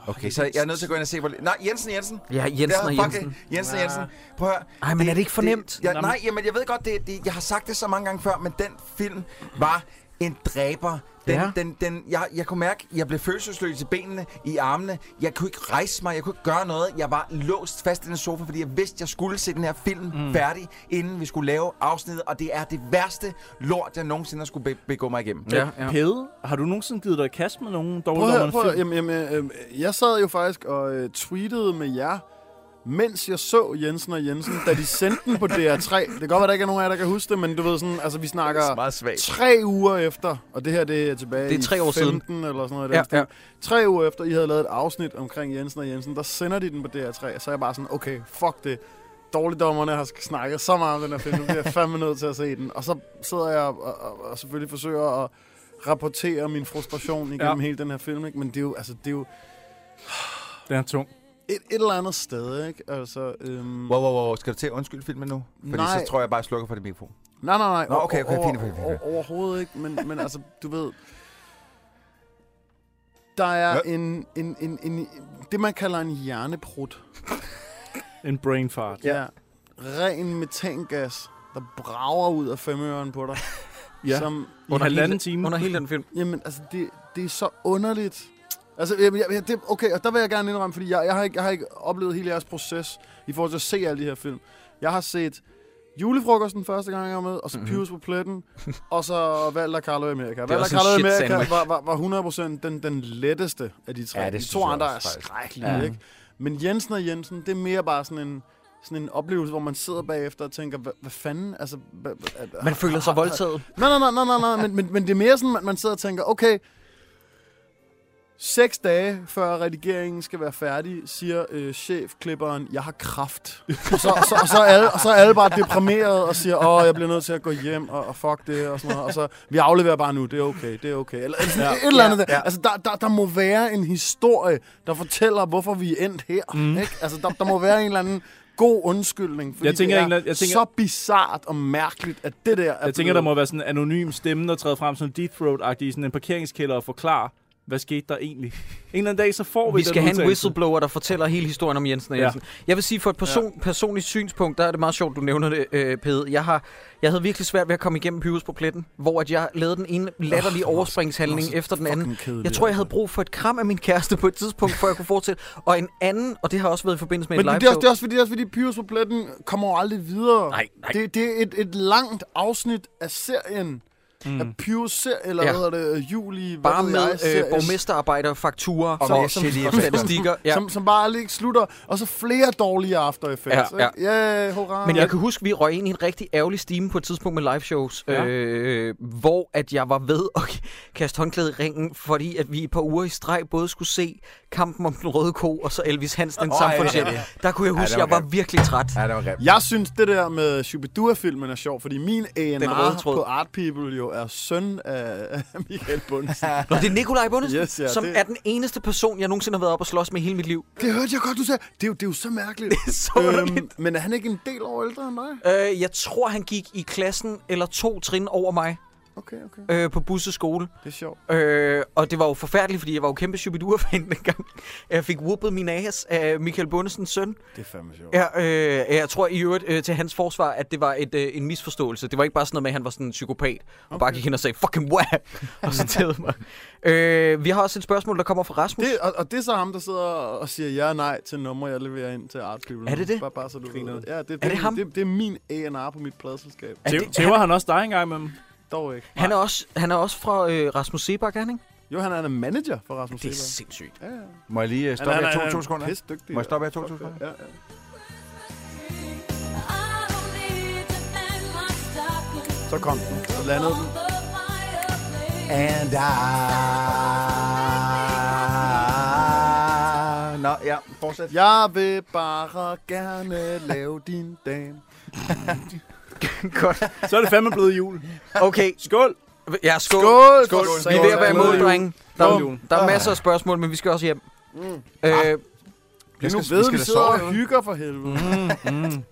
S7: Okay, så jeg er nødt til at gå ind og se, hvor... Nej, Jensen Jensen.
S5: Ja, Jensen og
S7: Det er fucking
S5: Jensen.
S7: Jensen og Jensen. Prøv at høre.
S5: Ej, men er det ikke for nemt?
S7: ja, nej, jamen, jeg ved godt, det, det, jeg har sagt det så mange gange før, men den film var en dræber. Den,
S5: Ja.
S7: ja. den, den, jeg, jeg kunne mærke, jeg blev følelsesløs i benene, i armene. Jeg kunne ikke rejse mig, jeg kunne ikke gøre noget. Jeg var låst fast i den sofa, fordi jeg vidste, jeg skulle se den her film mm. færdig, inden vi skulle lave afsnittet. Og det er det værste lort, jeg nogensinde har skulle be- begå mig igennem.
S5: Ja,
S6: Ja.
S5: ja.
S6: Pede, har du nogensinde givet dig i kast med nogen
S8: Prøv at høre,
S6: dårligdommerne
S8: prøv at høre.
S6: film?
S8: Jamen, jamen, øhm, jeg sad jo faktisk og øh, tweetede med jer, mens jeg så Jensen og Jensen, da de sendte den på DR3. Det kan godt være, der ikke er nogen af jer, der kan huske det, men du ved sådan, altså vi snakker
S7: meget svagt.
S8: tre uger efter, og det her det er tilbage
S5: Det er tre år
S8: i
S5: siden.
S8: 15 siden. eller sådan noget. i
S5: Ja,
S8: Den stil.
S5: ja.
S8: Tre uger efter, I havde lavet et afsnit omkring Jensen og Jensen, der sender de den på DR3, og så er jeg bare sådan, okay, fuck det. Dårligdommerne har snakket så meget om den her film, nu bliver jeg fandme nødt til at se den. Og så sidder jeg og, og, og selvfølgelig forsøger at rapportere min frustration igennem
S6: Ja.
S8: ja. hele den her film, ikke? men det er jo, altså, det er jo
S6: Den er tung.
S8: et, et eller andet sted, ikke? Altså, øhm,
S7: Mm. Wow, wow, wow. Skal du til at undskylde filmen nu? Fordi
S8: Nej.
S7: så tror jeg bare, jeg slukker for det mikrofon.
S8: Nej, nej, nej.
S7: Nå,
S8: o-
S7: okay, okay,
S8: over-
S7: fint, fint, fint.
S8: o- Overhovedet ikke, men, men altså, du ved... Der er
S7: Hvad?
S8: en, en, en, en, det, man kalder en hjerneprut.
S6: En brain fart.
S8: Ja. Ren metangas, der brager ud af femøren på dig.
S6: Ja.
S8: Som,
S6: I halvanden time.
S5: Under hele den film.
S8: jamen, altså, det, det er så underligt. Altså, jamen, jeg, jeg, det, okay, og der vil jeg gerne indrømme, fordi jeg, jeg, har ikke, jeg har ikke oplevet hele jeres proces i forhold til at se alle de her film. Jeg har set julefrokosten første gang, jeg var med, og
S5: Mhm.
S8: så mm-hmm. Pius på pletten, og så Valder Carlo i Amerika. Valder
S5: også en
S8: Carlo i
S5: shit
S8: Amerika
S5: sandwich.
S8: var, var, var 100% den, den letteste af de tre.
S7: Ja, det
S8: de
S7: synes
S8: to
S7: jeg
S8: andre
S7: også,
S8: er
S7: faktisk.
S8: skrækkelige, ja. ikke? Men Jensen og Jensen, det er mere bare sådan en... sådan en oplevelse, hvor man sidder bagefter og tænker, hvad, hvad fanden? Altså, hvad, hvad,
S5: Man føler sig voldtaget.
S8: Nej, nej, nej, nej, nej, nej. Men, men, men det er mere sådan, at man sidder og tænker, okay, seks dage før redigeringen skal være færdig, siger øh, chefklipperen, jeg har kraft. Og så, og så, og så, er alle, og så er alle bare deprimeret og siger, åh, jeg bliver nødt til at gå hjem, og, og fuck det, og sådan noget. Og så, vi afleverer bare nu, det er okay, det er okay. Eller, eller ja, et eller andet. Ja, ja. Altså, der, der, der må være en historie, der fortæller, hvorfor vi er endt her. Mm. Ikke? Altså, der, der må være en eller anden god undskyldning, fordi
S6: Mhm. Jeg tænker
S8: det er
S6: en eller anden- jeg tænker-
S8: så bizart og mærkeligt, at det der er
S6: Jeg tænker, der må være sådan en anonym stemme, der træder frem som Deep Throat-agtig i sådan en parkeringskælder og forklarer, hvad skete der egentlig? En eller anden dag, så får vi,
S5: Vi
S6: den
S5: skal have en
S6: udtalelse.
S5: whistleblower, der fortæller hele historien om Jensen og
S6: Ja.
S5: Jensen. Ja. Jeg vil sige, for et person, ja. personligt synspunkt, der er det meget sjovt, du nævner det, øh, Pede. Jeg, har, jeg havde virkelig svært ved at komme igennem Pyrus på pletten, hvor at jeg lavede den ene latterlige oh, overspringshandling efter den anden.
S8: Kedelig,
S5: Jeg tror, jeg havde brug for et kram af min kæreste på et tidspunkt, før jeg kunne fortsætte. Og en anden, og det har også været i forbindelse med
S8: Men
S5: et
S8: det,
S5: live
S8: det, er også, det er også fordi, det er også fordi Pyrus på pletten kommer jo aldrig videre.
S5: Nej, nej.
S8: Det, det er et, et langt afsnit af serien. Mm. Af Pyrus serie, eller
S5: Ja.
S8: ja. hvad hedder det, øh, juli, hvad
S5: Bare
S8: ved
S5: med
S8: jeg,
S5: øh,
S8: serie,
S5: borgmesterarbejder, fakturer
S7: Og
S5: og,
S7: med
S5: som,
S7: shitty
S5: og
S7: effekter.
S5: statistikker. Ja.
S8: som, som bare aldrig ikke slutter. Og så flere dårlige After Effects.
S5: Ja,
S8: Ja, ikke? ja. Yeah, hurra.
S5: Men jeg kan huske, vi røg ind i en rigtig ærgerlig stime på et tidspunkt med live shows, ja.
S6: Ja.
S5: øh, hvor at jeg var ved at kaste håndklæde i ringen, fordi at vi i et par uger i streg både skulle se kampen om den røde ko, og så Elvis Hansen, den
S7: Åh,
S5: samfundschef.
S7: ja, ja, ja.
S5: Der kunne jeg huske,
S7: det
S5: at
S7: var
S5: jeg var
S7: grimt.
S5: virkelig træt.
S7: Ja, det var grimt.
S8: Jeg synes, det der med Shubidua-filmen er sjov, fordi min
S5: røde
S8: A&R
S5: tråd.
S8: på Art People jo er søn af af Michael Bunsen.
S5: Nå, det er Nikolaj Bundesen, yes,
S8: Yes,
S5: ja,
S8: ja,
S5: som det...
S8: det-
S5: er den eneste person, jeg nogensinde har været oppe og slås med i hele mit liv.
S8: det hørte jeg godt, du sagde. Det er jo, det er jo så mærkeligt. Det
S5: er så underligt.
S8: men er han ikke en del år ældre end dig?
S5: Øh, jeg tror, han gik i klassen eller to trin over mig
S8: Okay, okay.
S5: øh, på busseskole.
S8: Det er sjovt.
S5: Øh, og det var jo forfærdeligt, fordi jeg var jo kæmpe Shubidua-fan dengang. Jeg fik whoopet min ass af Michael Bundesens søn.
S8: Det er fandme sjovt.
S5: Ja, øh, jeg tror i øvrigt øh, til hans forsvar, at det var et, øh, en misforståelse. Det var ikke bare sådan noget med, at han var sådan en psykopat, og bare gik hen og sagde, fucking what, og så tædede mig. Øh, vi har også et spørgsmål, der kommer fra Rasmus.
S8: Det, og, og det er så ham, der sidder og siger ja og nej til numre, jeg leverer ind til Art People.
S5: Er det det?
S8: Bare, bare så du ved.
S6: Griner.
S8: det. Ja, det, det,
S5: Er det ham?
S8: Det, det er min A&R på mit pladselskab.
S5: Er
S6: Tæv-
S5: det-
S6: Tæver han også dig engang med dem?
S8: Dog ikke.
S5: Han er også, han er også fra øh, Rasmus Sebak, er han ikke?
S8: Jo, han er en manager for Rasmus
S5: Det er
S8: Sebak.
S5: sindssygt.
S8: Ja, ja.
S7: Må jeg lige øh, stoppe
S8: Han er-
S7: jer
S8: han
S7: to,
S8: er
S7: to sekunder?
S8: pissedygtig,
S7: Må
S8: ja.
S7: jeg stoppe jer to, to sekunder?
S8: Ja, ja. Så kom den. Så landede den.
S7: And I... Nå, ja, fortsæt.
S8: Jeg vil bare gerne lave din dame.
S5: Godt.
S6: Så er det fandme blevet jul.
S5: Okay,
S6: Skål!
S5: ja, skål.
S8: Skål!
S6: Skål.
S8: for
S5: Vi er ved at være
S8: satan.
S5: imod, drenge. Der,
S6: Glædelig
S5: er,
S6: jul.
S5: der er masser af spørgsmål, men vi skal også hjem. Øh,
S8: Vi
S7: Jeg
S8: nu
S7: skal- vi
S8: ved,
S7: skal
S8: vi sidder
S7: da sove,
S8: og hygger for
S7: mm.
S8: helvede.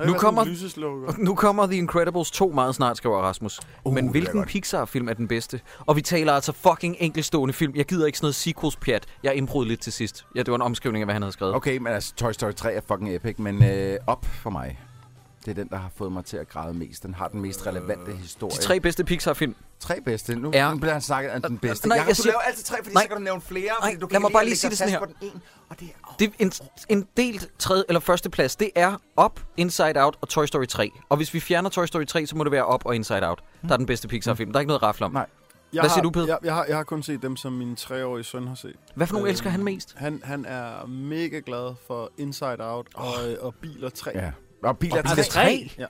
S8: Mm,
S5: Nu kommer-
S8: Lyseslukker.
S5: Nu kommer The Incredibles 2 meget snart, skriver Rasmus. Uh, Men
S7: det bliver
S5: hvilken
S7: godt.
S5: Pixar-film er den bedste? Og vi taler altså fucking enkelstående film. Jeg gider ikke sådan noget sequels-pjat. Jeg improd lidt til sidst. Ja, det var en omskrivning af, hvad han havde skrevet.
S7: Okay, men altså, Toy Story 3 er fucking epic, men øh, op for mig. Det er den, der har fået mig til at græde mest. Den har den mest relevante
S8: Øh,
S7: historie.
S5: De tre bedste Pixar-film.
S7: tre bedste. Nu,
S5: Ja.
S7: ja. nu bliver han snakket om den bedste.
S5: nej,
S7: Jakob,
S5: jeg siger-
S7: du laver altid tre, fordi
S5: nej.
S7: så kan du nævne flere.
S5: Nej,
S7: fordi du
S5: lad mig bare
S7: lægge
S5: lige sige
S7: dig
S5: det sådan
S7: fast
S5: her.
S7: På den ene, og det er, oh,
S5: Det er en, en delt tredje eller første plads. Det er Up, Inside Out og Toy Story 3. Og hvis vi fjerner Toy Story 3, så må det være Up og Inside Out. Der er den bedste Pixar-film. Der er ikke noget at rafle om.
S7: Nej.
S8: Jeg
S5: Hvad
S8: har-
S5: siger du, Peder?
S8: Jeg, jeg, har, jeg har kun set dem, som min treårige søn har set.
S5: Hvad for nogle
S8: Øhm,
S5: elsker han mest?
S8: Han, han er mega glad for Inside Out og, øh, og Biler 3.
S7: Ja. Og biler
S5: Og
S7: tre.
S5: Biler 3?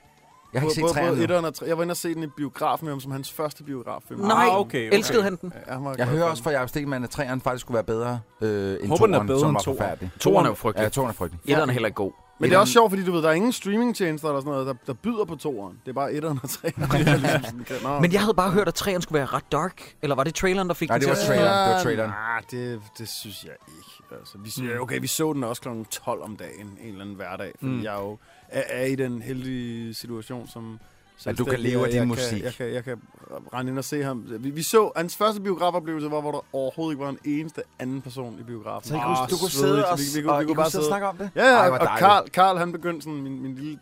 S7: Jeg har ikke set
S8: både, både,
S7: træerne.
S8: både
S7: endnu.
S8: etteren og tre. Jeg var inde og se den i biografen med ham, som hans første biograffilm.
S5: Nej,
S6: Ah, okay, okay.
S5: elskede han den?
S8: Ja, han var
S7: Jeg
S8: glad
S7: hører
S8: for
S7: også fra Jacob Stikman, at træerne faktisk skulle være bedre øh, end
S6: Håber, den er
S7: toeren,
S6: bedre
S7: som
S6: end
S7: var
S6: toeren.
S7: forfærdelig.
S5: Toren er jo
S7: Ja,
S5: frygtelig.
S7: toeren er frygtelig.
S5: Etteren er heller ikke god.
S8: den. Men det er også sjovt, fordi du ved, der er ingen streamingtjenester eller sådan noget, der, der byder på toeren. Det er bare etteren og treeren. Det er ligesom sådan, kan- nå.
S5: Men jeg havde bare hørt, at træerne skulle være ret dark. Eller var det traileren, der fik
S7: Nej,
S5: den
S7: det
S5: til
S7: var
S5: at-
S7: traileren. Det var traileren.
S8: Nej, Ah, det, det synes jeg ikke. Altså, vi, synes, okay, vi så den også kl. 12 om dagen, en eller anden hverdag, fordi
S6: Mm.
S8: mm. jeg jo er, er i den heldige situation, som...
S7: At du kan
S8: selvstændig,
S7: leve af din
S8: jeg
S7: musik.
S8: Kan, jeg, kan, jeg kan rende ind og se ham. Vi, vi så hans første biografoplevelse, var, hvor der overhovedet ikke var en eneste anden person i biografen.
S7: Så I
S8: Ah,
S7: kunne, du kunne
S8: svedigt,
S7: sidde og,
S8: vi- vi- vi-
S7: og
S8: vi
S7: I
S8: kunne
S7: kunne
S8: bare
S7: sidde og
S8: sidde-
S7: snakke om det?
S8: Ja, ja,
S7: Ej, hvor
S8: og
S7: dejligt.
S8: Karl, Karl, han begyndte sådan, min, min lille,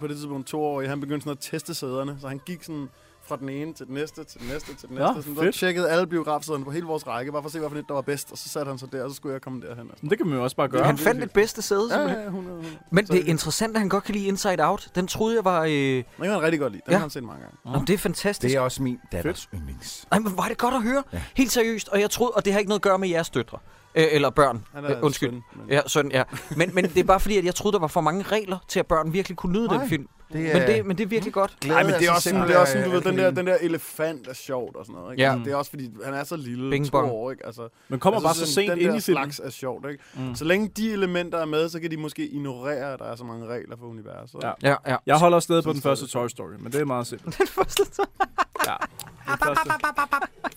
S8: på det tidspunkt toårige, han begyndte sådan at teste sæderne, så han gik sådan fra den ene til den næste, til den næste, til den
S6: Nå,
S8: næste. sådan, så
S6: fedt.
S8: tjekkede alle biografsæderne på hele vores række, bare for at se, hvilken et, der var bedst, og så satte han sig der, og så skulle jeg komme derhen. Altså.
S6: Men det kan man jo også bare gøre.
S5: Han fandt det bedste sæde,
S8: Ja,
S5: simpelthen.
S8: ja, 100, 100.
S5: Men
S8: Så-
S5: det er interessant, at han godt kan lide Inside Out. Den troede jeg var... Øh...
S8: Den kan han rigtig godt lide. Den
S5: Ja.
S8: ja. har han set mange gange.
S5: Nå, men det er fantastisk.
S7: Det
S5: Det
S7: er
S5: er...
S7: også min datters yndlings.
S5: Ej, men var det godt at høre. Ja.
S7: Ja.
S5: Helt seriøst. Og jeg troede, og det har ikke noget at gøre med jeres døtre. Øh, eller børn.
S8: Han
S5: Øh, Undskyld.
S8: Søn, men...
S5: Ja, søn, ja. Men, men det er bare fordi, at jeg troede, der var for mange regler til, at børn virkelig kunne nyde
S7: Nej,
S5: den film.
S7: Det
S5: Men det, men det er virkelig godt.
S7: glæde
S8: Nej, men det er
S7: sig
S8: også sådan,
S7: simpelthen
S8: det er også sådan,
S7: af
S8: du ved, den der,
S7: adrenalin.
S8: den der elefant er sjovt og sådan noget. Ikke?
S5: Ja.
S8: Ja. Det er også fordi, han er så lille,
S5: Bing
S8: Bing to
S5: bong.
S8: år, ikke? Altså,
S6: Men kommer
S8: altså
S6: bare så
S8: sådan,
S6: sent
S8: den
S6: ind
S8: der
S6: i filmen.
S8: slags er sjovt, ikke?
S6: Mm.
S8: Mm. Så længe de elementer er med, så kan de måske ignorere, at der er så mange regler for universet.
S6: Ja.
S5: Ja, ja.
S6: Jeg holder stadig på
S8: Sådan
S6: den
S8: står
S6: første
S8: det.
S6: Toy Story, men det er meget simpelt. Den første Toy Ja, den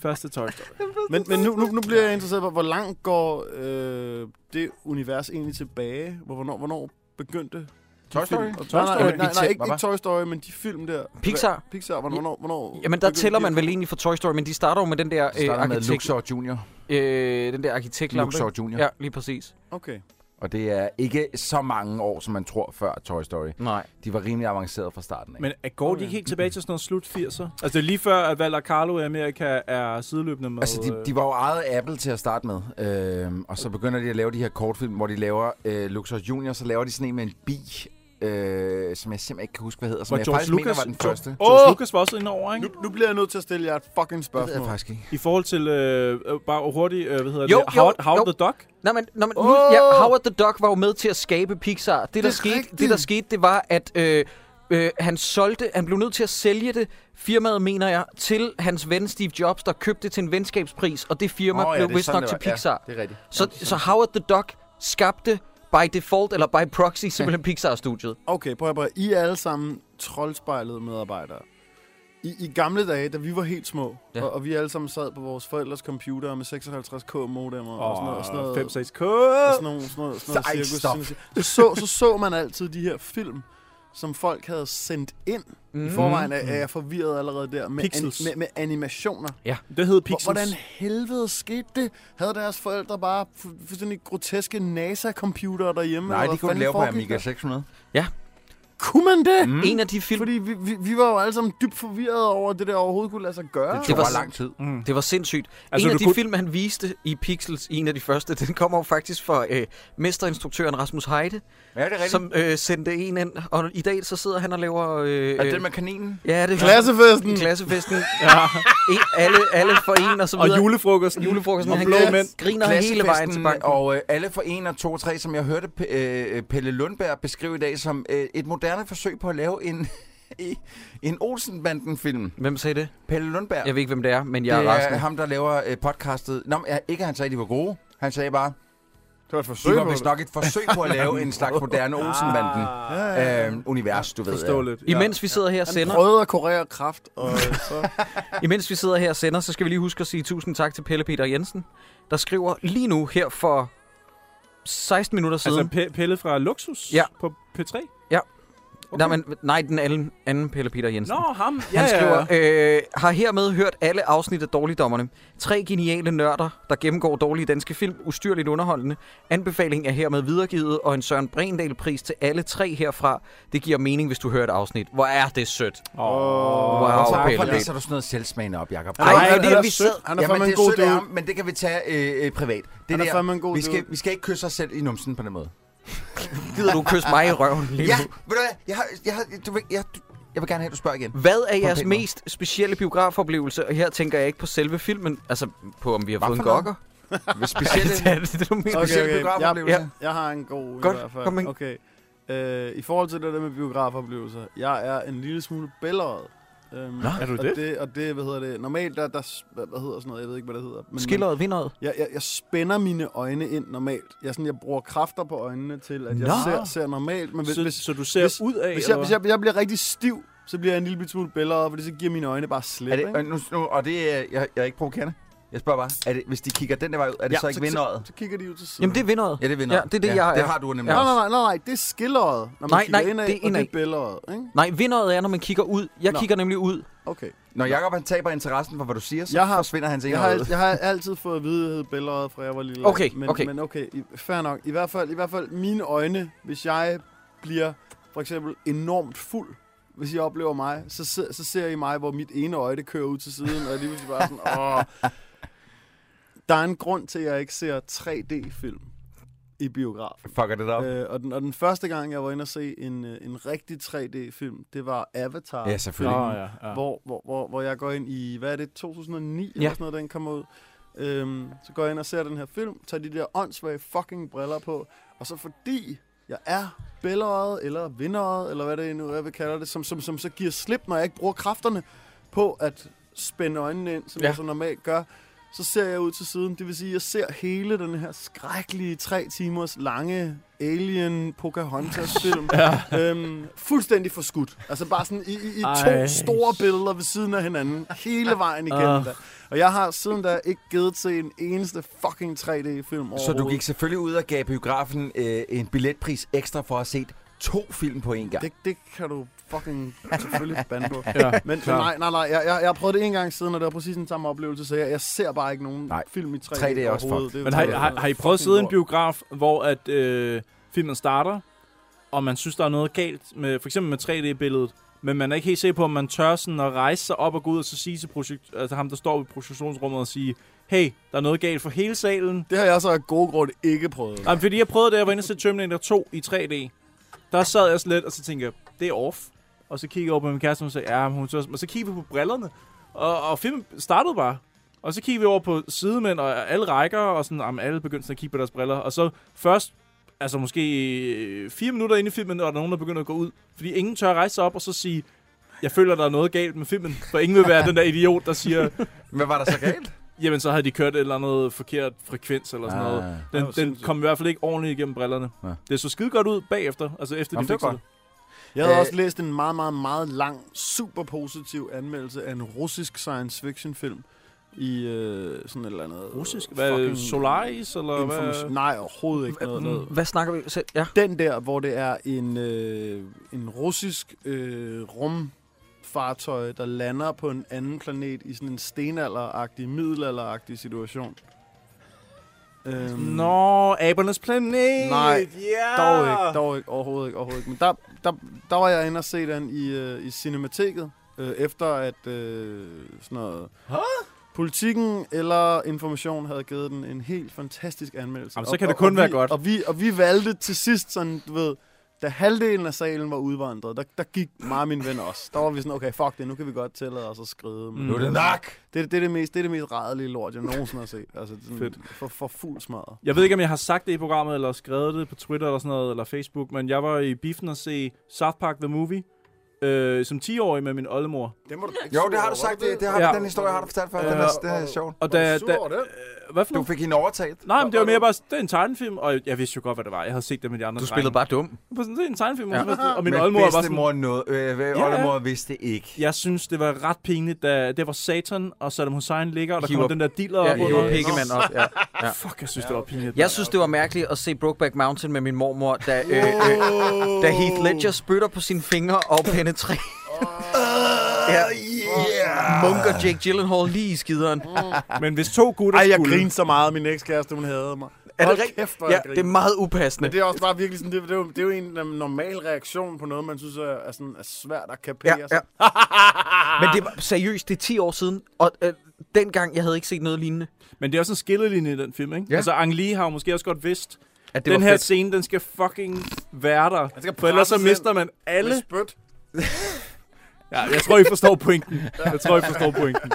S6: første, første Toy Story.
S8: Men, men nu, nu, nu bliver jeg interesseret på, hvor langt går øh, det univers egentlig tilbage? Hvor, hvornår, hvornår begyndte de
S7: Toy Story?
S8: film?
S6: Toy
S8: Nej,
S6: Story.
S8: nej, nej, nej, nej ikke,
S7: Hvad var?
S8: ikke Toy Story, men de film der.
S5: Pixar.
S8: Hva- Pixar, hvornår, hvornår, hvornår
S5: Jamen, der
S8: begyndte
S5: tæller
S8: de-
S5: man vel egentlig for Toy Story, men de starter jo med den der,
S7: Det
S5: øh,
S7: starter med
S5: arkitekt,
S7: Luxor Junior.
S5: øh, den der arkitektlampe.
S7: Luxor Junior.
S5: Ja, lige præcis.
S8: Okay.
S7: Og det er ikke så mange år, som man tror før Toy Story.
S5: Nej.
S7: De var rimelig avancerede fra starten af.
S6: Men er- går de ikke helt tilbage til sådan noget slut 80'er? Altså, det er lige før, at Valder Carlo i Amerika er sideløbende med...
S7: Altså, de, de var jo ejet af Apple til at starte med, øhm, og så begynder de at lave de her kortfilm, hvor de laver øh, Luxor Junior, så laver de sådan en med en bi, øh, som jeg simpelthen ikke kan huske, hvad hedder, som
S6: Var
S7: jeg
S6: George
S7: faktisk
S6: Lucas,
S7: mener var den første.
S6: George, George
S8: Åh!
S6: Lucas var også inde over, ikke?
S8: Nu, nu bliver jeg nødt til at stille jer et fucking
S7: Det ved jeg
S8: spørgsmål.
S7: faktisk ikke.
S6: I forhold til, øh, øh, bare hurtigt, øh, hvad hedder
S5: Jo,
S6: det?
S5: jo,
S6: Howard, Howard
S5: jo.
S6: the Duck?
S5: Nå, men, nå, men nu,
S8: Åh!
S5: ja, Howard the Duck var jo med til at skabe Pixar. Det, der,
S8: er
S5: skete,
S8: rigtigt.
S5: det, der skete, det var, at øh, øh, han solgte, han blev nødt til at sælge det, firmaet mener jeg, til hans ven Steve Jobs, der købte det til en venskabspris, og det firma
S7: Åh,
S5: oh,
S7: ja,
S5: ja, blev
S7: det er
S5: vist
S7: sådan,
S5: nok
S7: det
S5: til
S7: var. Ja,
S5: Pixar.
S7: Det er rigtigt.
S5: Så, så Howard the Duck skabte by default, eller by proxy, simpelthen Pixar-studiet.
S8: Okay, prøv at prøv. at- I er alle sammen troldspejlede medarbejdere. I, I gamle dage, da vi var helt små,
S5: Ja.
S8: ja. og, og vi alle sammen sad på vores forældres computer med 56k modemmer og, sådan noget. Og sådan
S6: Åh,
S8: noget
S6: 5-6K!
S8: og sådan nogle, sådan noget, sådan
S7: Sej,
S8: noget cirkus.
S7: stop.
S8: sådan noget- Så, så så man altid de her film, som folk havde sendt ind. Mm. I forvejen er, er jeg forvirret allerede der med, an,
S6: Pixels.
S8: med, med animationer.
S6: Det hed
S8: Hvor-
S6: Pixels.
S8: Hvordan helvede skete det? Havde deres forældre bare fu- fuldstændig groteske NASA-computere derhjemme?
S7: Nej,
S8: eller
S7: de
S8: hvad
S7: kunne
S8: fanden
S7: lave på
S8: foregik der?
S7: Amiga 600.
S8: Kunne man det?
S5: Mm. En af de film,
S8: Fordi vi, vi, vi var jo alle sammen dybt forvirrede over, at det der overhovedet kunne lade sig gøre.
S7: Det
S5: Det
S7: tog
S5: var
S7: bare
S5: s-
S7: lang tid.
S6: Mm.
S5: Det var sindssygt.
S6: Altså,
S5: Altså, en
S6: du
S5: af de
S6: kunne-
S5: kunne... film, han viste i Pixels, i en af de første, den kommer jo faktisk fra øh, mesterinstruktøren Rasmus Heide,
S7: Ja, det er rigtigt. Som,
S5: som øh, sendte en ind, og i dag så sidder han og laver... Øh,
S7: er det den med kaninen?
S5: Ja, det er
S8: Klassefesten!
S5: Klassefesten.
S6: Ja.
S5: E- alle, alle for en og så
S6: Og
S5: videre.
S6: julefrokosten.
S5: julefrokosten.
S6: Og
S5: han
S6: blå
S5: glæder-
S6: mænd.
S5: griner hele vejen til banken.
S7: Og øh, alle for 1 og 2 og 3, som jeg hørte P- øh, Pelle Lundberg beskrive i dag som øh, et moderne forsøg på at lave en, en Olsenbanden-film.
S5: Hvem sagde det?
S7: Pelle Lundberg.
S5: Jeg ved ikke, hvem det er, men jeg
S7: det
S5: er
S7: er,
S5: rasende.
S7: ham, der laver øh, podcastet. Nå, men, ja, ikke at han sagde, at de var gode. Han sagde bare,
S8: Det var et
S7: det
S8: forsøg
S7: var
S8: på Ah.
S7: vist
S8: det.
S7: nok et forsøg på at lave en slags moderne Olsenbanden.
S8: Ja, ja, ja.
S7: Øh, univers, du ved.
S6: Forståeligt. Ja.
S5: Imens vi sidder her og
S8: Han
S5: sender,
S8: prøvede at kurere kraft, og øh, så...
S5: imens vi sidder her og sender, så skal vi lige huske at sige tusind tak til Pelle Peter Jensen, der skriver lige nu her for 16 minutter siden.
S6: Altså Pe- Pelle fra Luxus
S5: Ja.
S6: på P3?
S5: Ja.
S6: Okay.
S5: Nej, men, nej, den anden, anden Pelle Peter Jensen.
S6: Nå, ham. Ja,
S5: Han
S6: ja.
S5: skriver, øh, har hermed hørt alle afsnit af Dårligdommerne. Tre geniale nørder, der gennemgår dårlige danske film, ustyrligt underholdende. Anbefalingen er hermed videregivet, og en Søren Brendal-pris til alle tre herfra. Det giver mening, hvis du hører et afsnit. Hvor er det sødt.
S6: Åh,
S5: Wow,
S7: Hvorfor
S5: Pelle.
S7: hvorfor læser du sådan noget selvsmagende op, Jacob?
S5: Ej,
S8: han,
S5: det er
S8: han,
S5: vi
S8: sød.
S5: selv.
S8: han er
S7: Jamen,
S8: fandme
S7: det
S8: en
S7: er
S8: god
S7: sødt af ham,
S8: dude.
S7: men det kan vi tage øh, øh, privat. Det
S8: Han er
S7: der,
S8: fandme en god
S7: vi, skal,
S8: dude.
S7: vi skal ikke kysse os selv i numsen på den måde.
S5: Gider du kysse mig i røven lige
S7: Ja,
S5: nu?
S7: ved du hvad? Jeg, har, jeg, har, du, ved- jeg, du, jeg vil gerne have, at du spørger igen.
S5: Hvad er jeres
S7: pæn måde.
S5: mest specielle biografoplevelse? Og her tænker jeg ikke på selve filmen, altså på om vi har
S7: Hvad
S5: fået en
S7: for noget?
S5: gokker.
S7: Hvis
S5: Ja,
S7: specielle,
S5: det er det, det, du mener.
S8: Okay,
S7: specielle
S8: okay.
S7: biografoplevelser.
S5: Ja.
S8: Jeg har en god
S5: Godt,
S8: i hvert fald.
S5: kom med.
S8: Okay. Øh, I forhold til det der med biografoplevelser, jeg er en lille smule bællerød. Øhm, Nå,
S6: er du
S8: og
S6: det?
S8: det? Og det, hvad hedder det, normalt, der, der s- hvad, hvad hedder sådan noget, jeg ved ikke, hvad det hedder. Men,
S5: Skilleret, vinderet.
S8: Jeg, jeg, jeg spænder mine øjne ind normalt. Jeg, er sådan, jeg bruger kræfter på øjnene til, at jeg
S5: Nå.
S8: ser, ser normalt. Men hvis,
S6: så,
S8: hvis,
S6: så du ser
S8: hvis-
S6: ud af,
S8: hvis,
S6: eller
S8: jeg, hvis
S6: hvad?
S8: jeg, jeg bliver rigtig stiv, så bliver jeg en lille bit smule bællerød, fordi så giver mine øjne bare slet.
S7: Er det,
S8: ikke?
S7: og, nu, nu, og det er, jeg, jeg er ikke provokerende. Jeg spørger bare, er det, hvis de kigger den der vej ud, er det ja,
S8: Ja,
S7: så ikke
S8: så-
S7: vindøjet?
S8: Så kigger de ud til siden.
S5: Jamen, det er vinderet.
S7: Ja, det er vindøjet.
S5: Ja, det er det, jeg
S7: Det
S5: er.
S7: har du nemlig
S8: Nej,
S7: også.
S8: nej, nej, nej, det er skilleret, når man
S5: Nej,
S8: kigger
S5: nej,
S8: indad,
S5: det er
S8: og det
S5: indad.
S8: er billeret, ikke?
S5: Nej, vinderet er, når man kigger ud. Jeg
S8: Nå.
S5: kigger nemlig ud.
S8: Okay.
S7: Når Jacob han taber interessen for, hvad du siger, så jeg
S8: Jeg
S7: har,
S8: har-
S7: forsvinder hans
S8: Jeg har,
S7: indhold.
S8: al- jeg har altid fået at vide, at jeg hed billeret, fra jeg var lille.
S5: Okay,
S8: men,
S5: okay.
S8: Men okay, i, fair nok. I hvert, fald, I hvert fald mine øjne, hvis jeg bliver for eksempel enormt fuld, hvis I oplever mig, så, se, så ser I mig, hvor mit ene øje det kører ud til siden, og jeg lige pludselig bare sådan, åh. Der er en grund til, at jeg ikke ser 3D-film i biograf.
S7: Fucker det op.
S8: Øh, og, den, og den første gang, jeg var inde og se en, øh, en rigtig 3D-film, det var Avatar.
S7: Ja, selvfølgelig.
S6: Nå, ja, ja.
S8: Hvor, hvor, hvor, hvor jeg går ind i, hvad er det, 2009
S5: Ja.
S8: eller sådan noget, den kommer ud. Øhm, så går jeg ind og ser den her film, tager de der åndssvage fucking briller på, og så fordi jeg er bællerøjet, eller vinderøjet, eller hvad det nu er, jeg vil kalde det, som, som, som så giver slip, når jeg ikke bruger kræfterne på at spænde øjnene ind, som
S5: Ja.
S8: ja. jeg så normalt gør, så ser jeg ud til siden. Det vil sige, at jeg ser hele den her skrækkelige tre timers lange Alien Pocahontas-film. ja. øhm, fuldstændig forskudt. Altså bare sådan i, i, i
S6: Ej.
S8: to store billeder ved siden af hinanden. Hele vejen igennem.
S6: Ah.
S8: Uh. Og jeg har siden da ikke givet til en eneste fucking 3D-film
S7: Så du gik selvfølgelig ud og gav biografen øh, en billetpris ekstra for at se to film på én gang.
S8: Det, det kan du fucking selvfølgelig bande på.
S6: Ja,
S8: Men
S6: klar.
S8: nej, nej, nej. Jeg, jeg, jeg har prøvet det en gang siden, og det var præcis den samme oplevelse, så jeg, jeg ser bare ikke nogen
S7: Nej.
S8: nej. film i 3D,
S7: 3D er også
S8: overhovedet. Det er
S6: Men har, I-
S8: bare-
S6: har, har I prøvet at
S8: fucking
S6: sidde i en
S8: lort.
S6: biograf, hvor at, øh, filmen starter, og man synes, der er noget galt, med, for eksempel med 3D-billedet, men man er ikke helt sikker på, om man tør sådan at rejse sig op og gå ud og så sige til projekt, altså ham, der står ved projektionsrummet og sige, hey, der er noget galt for hele salen.
S8: Det har jeg så af gode grunde ikke prøvet.
S6: Nej, men fordi jeg prøvede det, jeg var inde til Terminator 2 i 3D. Der sad jeg slet, og så tænkte jeg, det er off. Og så kiggede jeg over på min kæreste, og hun sagde, ja, men hun tør. Og så kiggede vi på brillerne, og, og filmen startede bare. Og så kiggede vi over på sidemænd, og alle rækker, og sådan, jamen, alle begyndte sådan at kigge på deres briller. Og så først, altså måske øh, fire minutter inde i filmen, og der er nogen, der begynder at gå ud. Fordi ingen tør rejse sig op og så sige, jeg føler, der er noget galt med filmen. For ingen vil være den der idiot, der siger,
S7: Hvad var der så galt?
S6: jamen så havde de kørt et eller andet forkert frekvens eller
S7: Ah.
S6: sådan noget.
S8: Det
S6: Den,
S8: var
S6: den
S8: sindssygt.
S6: kom i hvert fald ikke ordentligt igennem brillerne.
S7: Ja.
S6: Ja. Det så skide godt ud bagefter, altså efter
S7: Jamen,
S6: de
S7: det
S6: fik
S7: var
S6: det.
S8: Jeg havde
S7: Øh,
S8: også læst en meget, meget, meget lang, super positiv anmeldelse af en russisk science fiction film i øh, sådan et eller andet...
S6: Russisk? Hvad er det? Solaris? Eller
S8: Information.
S6: hvad? Mm.
S8: Nej, overhovedet ikke noget. noget.
S5: Hvad snakker vi? Så, ja.
S8: Den der, hvor det er en, øh, en russisk øh, rumfartøj, der lander på en anden planet i sådan en stenalderagtig, middelalderagtig situation. Øhm,
S6: Nå, Abernes Planet!
S8: Nej,
S6: yeah!
S8: Dog ikke, dog ikke, overhovedet ikke, overhovedet ikke. Men der, der, der var jeg inde og se den i, øh, i Cinemateket, øh, efter at øh, sådan noget... Politikken eller Information havde givet den en helt fantastisk anmeldelse.
S6: Jamen, så kan
S8: og,
S6: det kun
S8: og,
S6: være
S8: og vi,
S6: godt.
S8: Og vi, og vi valgte til sidst sådan, du ved, da halvdelen af salen var udvandret, der, der gik mig og min ven også. Der var vi sådan, okay, fuck det, nu kan vi godt tillade os at skride. Men
S6: Mm. Nu er det
S7: nok!
S8: Det, det, er det, mest, det er det mest rædelige lort, jeg nogensinde har set. Altså, sådan,
S6: Fedt.
S8: For, for fuld smadret.
S6: Jeg ved ikke, om jeg har sagt det i programmet, eller skrevet det på Twitter eller sådan noget, eller Facebook, men jeg var i biffen og se South Park The Movie, øh, som 10-årig med min oldemor.
S8: Det må du ikke
S7: Jo, det har du sagt. Det, det har,
S6: Ja.
S7: den historie har du fortalt før. Den
S6: Øh,
S7: er, den er sjov.
S6: Og
S8: Var du
S6: da,
S8: sur
S6: da,
S8: over det?
S6: øh, hvad for
S7: Du
S6: noget?
S7: fik hende overtalt.
S6: Nej, men det var
S8: var
S6: mere
S8: du-
S6: bare, det er en tegnefilm, og jeg vidste jo godt, hvad det var. Jeg havde set det med de andre
S5: Du spillede bare dum.
S6: bare... Det er en tegnefilm,
S5: Ja.
S6: ja. og min
S7: Men
S6: oldemor var sådan...
S7: bedstemor nåede, øh, ja,
S6: ja.
S7: oldemor vidste ikke.
S6: Jeg synes, det var ret pinligt, da det var Satan, og Saddam Hussein ligger, og der
S5: Hiver-
S6: kommer den der dealer
S5: Ja,
S6: op
S5: I var
S6: under.
S5: piggemand op. Ja. ja.
S6: Fuck, jeg synes, det var pinligt.
S5: Jeg synes, det var mærkeligt at se Brokeback Mountain med min mormor, da, øh, øh, da Heath Ledger spytter på sine fingre og penetrerer ja.
S7: Yeah!
S5: Munk og Jake Gyllenhaal lige i skideren.
S6: Men hvis to gutter
S8: Ej, jeg
S6: skulle...
S8: grinede så meget, min ekskæreste, hun havde mig.
S5: Er det
S8: Hold
S5: rigtigt?
S8: Kæft, hvor
S5: Ja,
S8: jeg
S5: det er
S8: grinede.
S5: meget
S8: Men
S5: upassende.
S8: det er også bare virkelig sådan, det, det, er, jo, det er jo en øhm, normal reaktion på noget, man synes er, er, sådan, er svært at kapere.
S5: Ja, ja. Men det var seriøst, det er 10 år siden, og øh, dengang, jeg havde ikke set noget lignende.
S6: Men det er også en skillelinje i den film, ikke?
S5: Ja.
S6: Ja. Altså, Ang Lee har jo måske også godt vidst,
S5: At det
S6: den
S5: var
S6: her
S5: fedt.
S6: scene, den skal fucking være der.
S8: skal
S6: For ellers så
S8: presses ind.
S6: mister man alle...
S8: Med spyt.
S6: Ja, jeg tror, I forstår pointen. Jeg tror, I forstår pointen.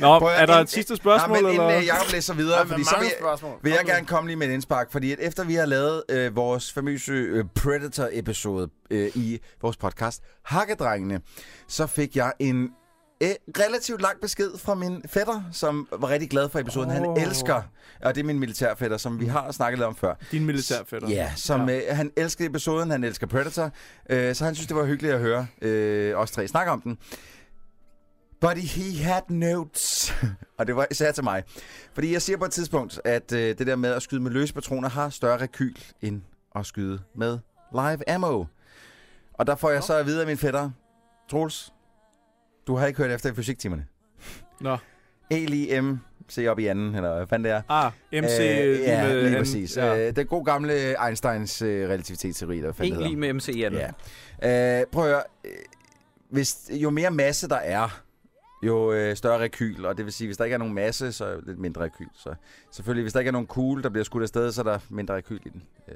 S6: Nå,
S7: Prøv at-
S6: er der et
S7: inden-
S6: sidste
S7: Nej,
S6: spørgsmål,
S7: men
S6: eller?
S7: inden øh, Jacob læser videre,
S8: Ja,
S7: fordi
S8: fordi
S7: så vil,
S8: spørgsmål.
S7: vil jeg
S8: Kom nu.
S7: gerne komme lige med et indspark, fordi at efter vi har lavet øh, vores famøse øh, Predator-episode øh, i vores podcast, Hakkedrengene, så fik jeg en øh, relativt lang besked fra min fætter, som var rigtig glad for episoden. Oh. Han
S6: Åh.
S7: elsker, og det er min militærfætter, som vi har snakket lidt om før.
S6: Din militærfætter.
S7: Ja, som ja. Øh, han elskede episoden, han elsker Predator, øh, så han synes, det var hyggeligt at høre øh, os tre snakke om den. But he had notes. og det var især til mig. Fordi jeg siger på et tidspunkt, at øh, det der med at skyde med løse patroner har større rekyl end at skyde med live ammo. Og der får jeg så at vide af min fætter, Troels, du har ikke hørt efter i fysiktimerne.
S6: Nå.
S7: E-lige-M, se op i anden, eller hvad fanden det er.
S6: Ah, MC...
S7: Øh, ja,
S6: med
S7: lige
S6: en-
S7: præcis.
S6: Ja.
S7: Ja. Øh, den gode gamle Einsteins øh, relativitetsteori, der fandt
S5: En lige med MC Jan.
S7: det ja. øh, Prøv at høre. øh, Hvis, jo mere masse der er, jo øh, større rekyl, og det vil sige, hvis der ikke er nogen masse, så er det lidt mindre rekyl. Så selvfølgelig, hvis der ikke er nogen kugle, der bliver skudt afsted, så er der mindre rekyl i den. Øh,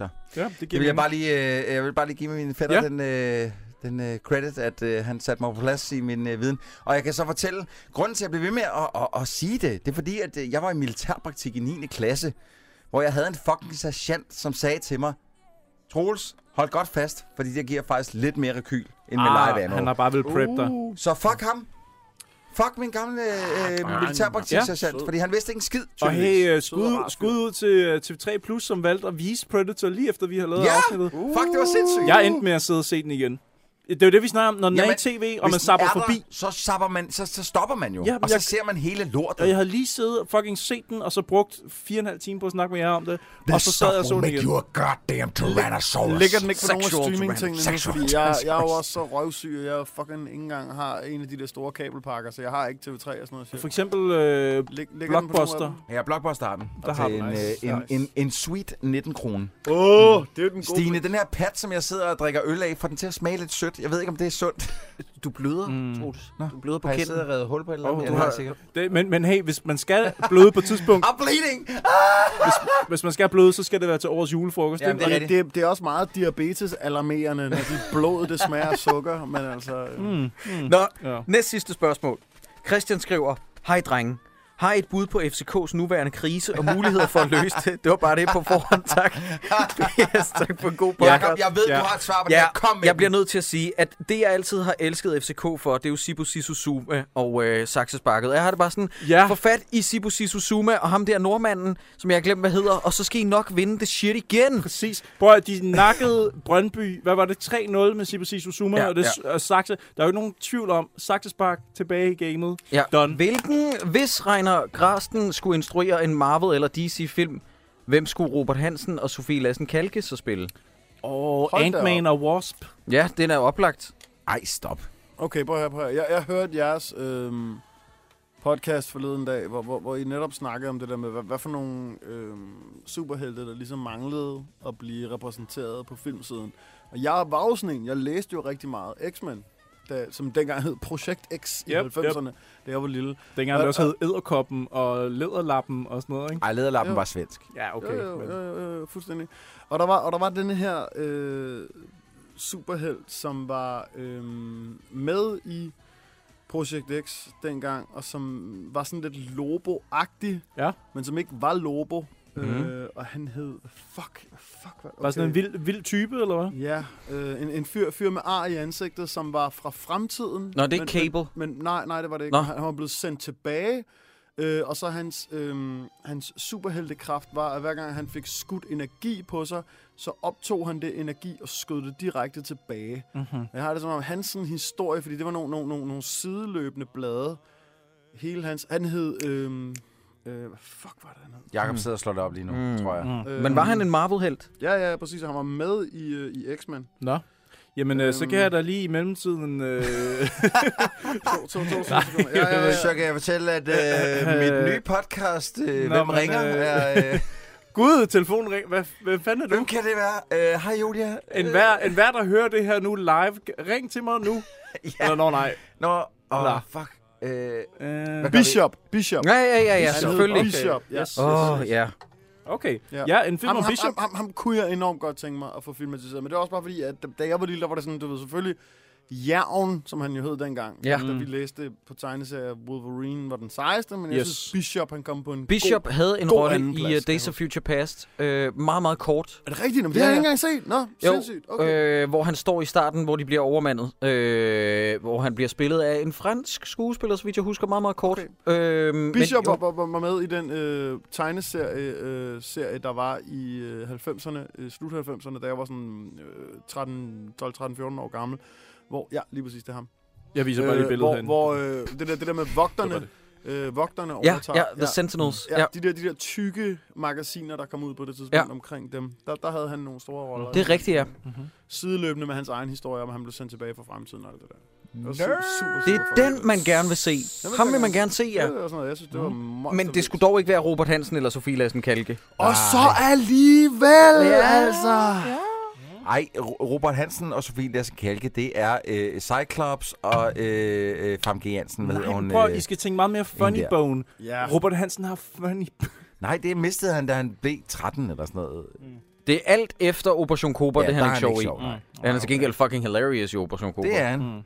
S6: ja, det giver
S7: det vil jeg
S6: mening.
S7: bare lige, øh, jeg vil bare lige give min fætter ja.
S6: Ja.
S7: den, øh, den øh, credit, at øh, han satte mig på plads i min øh, viden. Og jeg kan så fortælle, grunden til, at jeg blev ved med at, at, at sige det, det er fordi, at øh, jeg var i militærpraktik i 9. klasse, hvor jeg havde en fucking sergeant, som sagde til mig, Troels, hold godt fast, fordi det giver faktisk lidt mere rekyl end med ah, live ammo.
S6: han har bare vel prep dig.
S7: Så fuck ham. Fuck min gamle øh,
S6: Ja.
S7: militærpraktiksergeant, fordi han vidste ikke en skid.
S6: Og
S7: tydeligvis.
S6: hey, øh, skud, skud ud til øh, TV3 Plus, som valgte at vise Predator lige efter vi har lavet
S7: Ja!
S6: øh, afsnittet.
S7: Fuck, det var sindssygt.
S6: Jeg endte med at sidde og se den igen. Det er jo det, vi snakker om, når den er
S7: Jamen,
S6: i tv, og
S7: Hvis
S6: man
S7: den
S6: sapper
S7: er der,
S6: forbi.
S7: Så, sapper man, så, så stopper man jo,
S6: Ja,
S7: ja,
S6: men
S7: og så
S6: jeg-
S7: ser man hele lortet.
S6: Og jeg havde lige siddet og fucking set den, og så brugt fire og en halv time på at snakke med jer om det. og så sad jeg og så den igen.
S7: a goddamn tyrannosaurus.
S8: Ligger den ikke på nogle af
S7: Sexual
S8: streamingtingene nu?
S7: tyrannosaurus.
S8: Fordi jeg, jeg er jo også så røvsyg, at jeg fucking ikke engang har en af de der store kabelpakker, så jeg har ikke TV3 og sådan noget shit.
S6: For eksempel øh,
S8: Lig, ligger den på nogle af
S6: Blockbuster.
S7: Ja, Blockbuster har den.
S6: Der har
S7: til
S6: den.
S7: en,
S6: Nice,
S7: øh, en,
S6: nice.
S7: en, en sweet 19 kroner.
S8: dem? Åh, oh, det er jo den gode
S7: Stine, den her pat, som jeg sidder og drikker øl af, får den til at smage lidt sødt. Jeg ved ikke, om det er sundt.
S5: Du bløder,
S6: Mm.
S5: mm. Troels.
S7: Nå,
S5: Du bløder på
S7: Har jeg siddet
S5: kinden.
S7: og reddet hul på et eller
S6: Åh,
S7: andet? Ja,
S6: du
S7: det har jeg
S6: har-
S7: sikkert.
S6: Det, men, men hey, hvis man skal bløde på et tidspunkt,
S7: I'm bleeding!
S6: hvis man skal bløde, så skal det være til årets julefrokost.
S7: Ah! Jamen,
S6: ikke?
S7: det er
S8: Det, det, det er også meget diabetes-alarmerende, når dit blod det smager af sukker, men altså...
S6: Mm, mm.
S5: Nå,
S6: Ja.
S5: Næst sidste spørgsmål. Christian skriver, Hej drenge, har I et bud på FCK's nuværende krise og muligheder for at løse det? Det var bare det på forhånd, tak. yes, tak for en god podcast.
S7: Jakob, jeg ved,
S6: Ja.
S7: du har et svar på det
S5: Ja,
S7: her. Kom med
S5: jeg bliver
S7: den.
S5: nødt til at sige, at det, jeg altid har elsket FCK for, det er jo Sibu Sissuzuma og øh, Saxesparket. Jeg har det bare sådan,
S6: Ja,
S5: få fat i Sibu Sissuzuma og ham der nordmanden, som jeg har glemt, hvad hedder, og så skal I nok vinde det shit igen.
S6: præcis. Prøv at de nakkede Brøndby, hvad var det, 3-0 med Sibusi Susuma ja,
S5: Ja,
S6: og det ja. Saxe. Der er jo ikke nogen tvivl om, Saxe spark tilbage i gamet.
S5: Ja.
S6: Done.
S5: Hvilken, hvis Reiner Grasten skulle instruere en Marvel eller DC-film, hvem skulle Robert Hansen og Sofie Lassen Kalke så spille?
S6: Og
S8: Hold da
S6: Ant-Man og Wasp.
S5: Ja, den er oplagt.
S7: Ej, stop.
S8: Okay, prøv at høre, prøv at høre. Jeg, jeg hørte jeres øhm, podcast forleden dag, hvor, hvor, hvor I netop snakkede om det der med, hvad, hvad for nogle øhm, superhelte, der ligesom manglede at blive repræsenteret på filmsiden. Og jeg var jo sådan en, jeg læste jo rigtig meget X-Men, da, som dengang hed Projekt X i
S6: Yep,
S8: 90'erne, da jeg var lille.
S6: Dengang det
S8: Og-
S6: også hed Æderkoppen og Læderlappen og sådan noget, ikke?
S7: Ej, lederlappen
S8: Jo.
S7: var svensk.
S6: Ja, okay.
S8: Jo, jo,
S6: men-
S8: jo, jo, jo, fuldstændig. Og der var, og der var denne her øh, superhelt, som var øh, med i Project X dengang, og som var sådan lidt lobo-agtig,
S6: Ja.
S8: men som ikke var lobo. Mm.
S5: Mhm.
S8: Øh, og han hed... Fuck, fuck, hvad? Okay.
S6: Var sådan en vild, vild type, eller hvad?
S8: Ja, øh, en, en fyr, fyr med ar i ansigtet, som var fra fremtiden.
S5: Nå, det er
S8: men-
S5: ikke Cable.
S8: Men, men nej, nej, det var det ikke.
S5: Nå.
S8: Han, han var blevet sendt tilbage, øh, og så hans, øh, hans superheltekraft var, at hver gang han fik skudt energi på sig, så optog han det energi og skød det direkte tilbage.
S5: Mhm.
S6: Mm-hmm.
S8: Jeg har det som om hans sådan historie, fordi det var nogle, nogle, nogle, nogle sideløbende blade. Hele hans... Han hed... Øh, øh, hvad fuck var det, han hed?
S7: Jakob sidder og slår det op lige nu,
S5: Mm.
S7: tror jeg.
S6: Mm.
S8: Øh,
S5: Men var han en Marvel-helt?
S8: Øhm, Ja, ja, præcis. og Han var med i, øh, i X-Men.
S6: Nå. Jamen, øh, så kan
S8: Øhm.
S6: jeg da lige i mellemtiden... Øh,
S8: To, to, to, to, sekunder. ja, ja, ja.
S7: Så kan jeg fortælle, at øh, mit nye podcast, øh,
S6: Nå,
S7: Hvem
S6: men,
S7: ringer,
S6: øh,
S7: er... Øh,
S6: Gud, telefonen ringer. Hvad, hvad fanden er du?
S7: Hvem kan det være? Øh, Hej, Julia. Øh,
S6: En hver, en hver, der hører det her nu live, ring til mig nu.
S7: Ja.
S6: Eller, nå, nej.
S7: Nå, åh,
S6: Nå.
S7: oh, fuck. Øh,
S6: Øh,
S7: Hvad gør vi?
S8: Bishop. Bishop.
S5: Ja, ja, ja, ja,
S8: Han hed
S5: selvfølgelig.
S8: Bishop. Ja.
S6: Yes.
S5: Åh, oh, ja.
S6: Okay.
S8: Ja.
S6: Ja, en film
S8: Ham,
S6: om
S8: ham,
S6: Bishop.
S8: ham, ham, ham kunne jeg enormt godt tænke mig at få filmatiseret, men det er også bare fordi, at da- da jeg var lille, der var det sådan, du ved selvfølgelig, Jævn, som han jo hed dengang,
S5: Ja.
S8: da
S6: Mm.
S8: vi læste på tegneserier, Wolverine var den sejeste, men jeg
S6: Yes.
S8: synes, Bishop han kom på en
S5: Bishop
S8: god...
S5: havde en
S8: god
S5: rolle
S8: andenplads,
S5: i uh,
S8: kan jeg
S5: Days of Future Past. Uh, meget, meget kort.
S8: Er det rigtigt? Jamen, det
S5: Ja,
S8: har jeg
S5: ja.
S8: ikke engang set. Nå,
S5: Jo,
S8: sindssygt. Okay.
S5: Okay. Øh, hvor han står i starten, hvor de bliver overmandet. Øh, hvor han bliver spillet af en fransk skuespiller, så vidt jeg husker meget, meget kort. Okay. Øh,
S8: Bishop var,
S5: men,
S8: var, var- var med i den øh, tegneserie, øh, serie, der var i øh, 90'erne, øh, slut 90'erne, da jeg var sådan øh, 13, 12, 13, 14 år gammel, hvor, ja, lige præcis det er ham. Øh,
S6: Jeg viser bare lige billedet herinde.
S8: hvor, hvor øh, det, der, det der med
S6: Det
S8: vogterne,
S6: var
S8: øh, vogterne
S5: ja,
S8: overtager.
S5: ja, The Sentinels.
S8: Ja,
S5: Ja.
S8: De, der, de der tykke magasiner, der kom ud på det tidspunkt ja.
S5: Ja.
S8: omkring dem, der, der havde han nogle store roller.
S5: Det er rigtigt, ja.
S6: Mhm.
S8: Sideløbende med hans egen historie om, at han blev sendt tilbage fra fremtiden og alt det der. Det var su- super,
S5: Det
S8: super
S5: er den, man gerne vil se.
S8: vil
S5: Ham
S8: jeg
S5: vil man
S8: gerne
S5: gerne se,
S8: Ja.
S5: ja.
S8: Det var sådan noget, jeg synes, det var mm.
S5: Men det skulle dog ikke være Robert Hansen eller Sofie Lassen Kalke.
S7: ah.
S8: Og så alligevel,
S5: Ja.
S8: altså!
S7: ej, Ro- Robert Hansen og Sofie Lassen Kalke, det er øh, Cyclops og øh, øh, Famke Jansen. Hvad hedder
S6: Nej,
S7: hun?
S6: men prøv,
S7: øh,
S6: I skal tænke meget mere funny
S7: der.
S6: bone.
S8: Ja.
S6: Robert Hansen har funny
S7: Nej, det mistede han, da han blev 13 eller sådan noget.
S5: Det er alt efter Operation Cobra, det
S7: der
S5: han
S7: er
S5: ikke sjov i.
S7: sjov, nej.
S6: Mm.
S5: Han er til gengæld fucking hilarious i Operation Cobra.
S7: Det er han.
S6: Mm.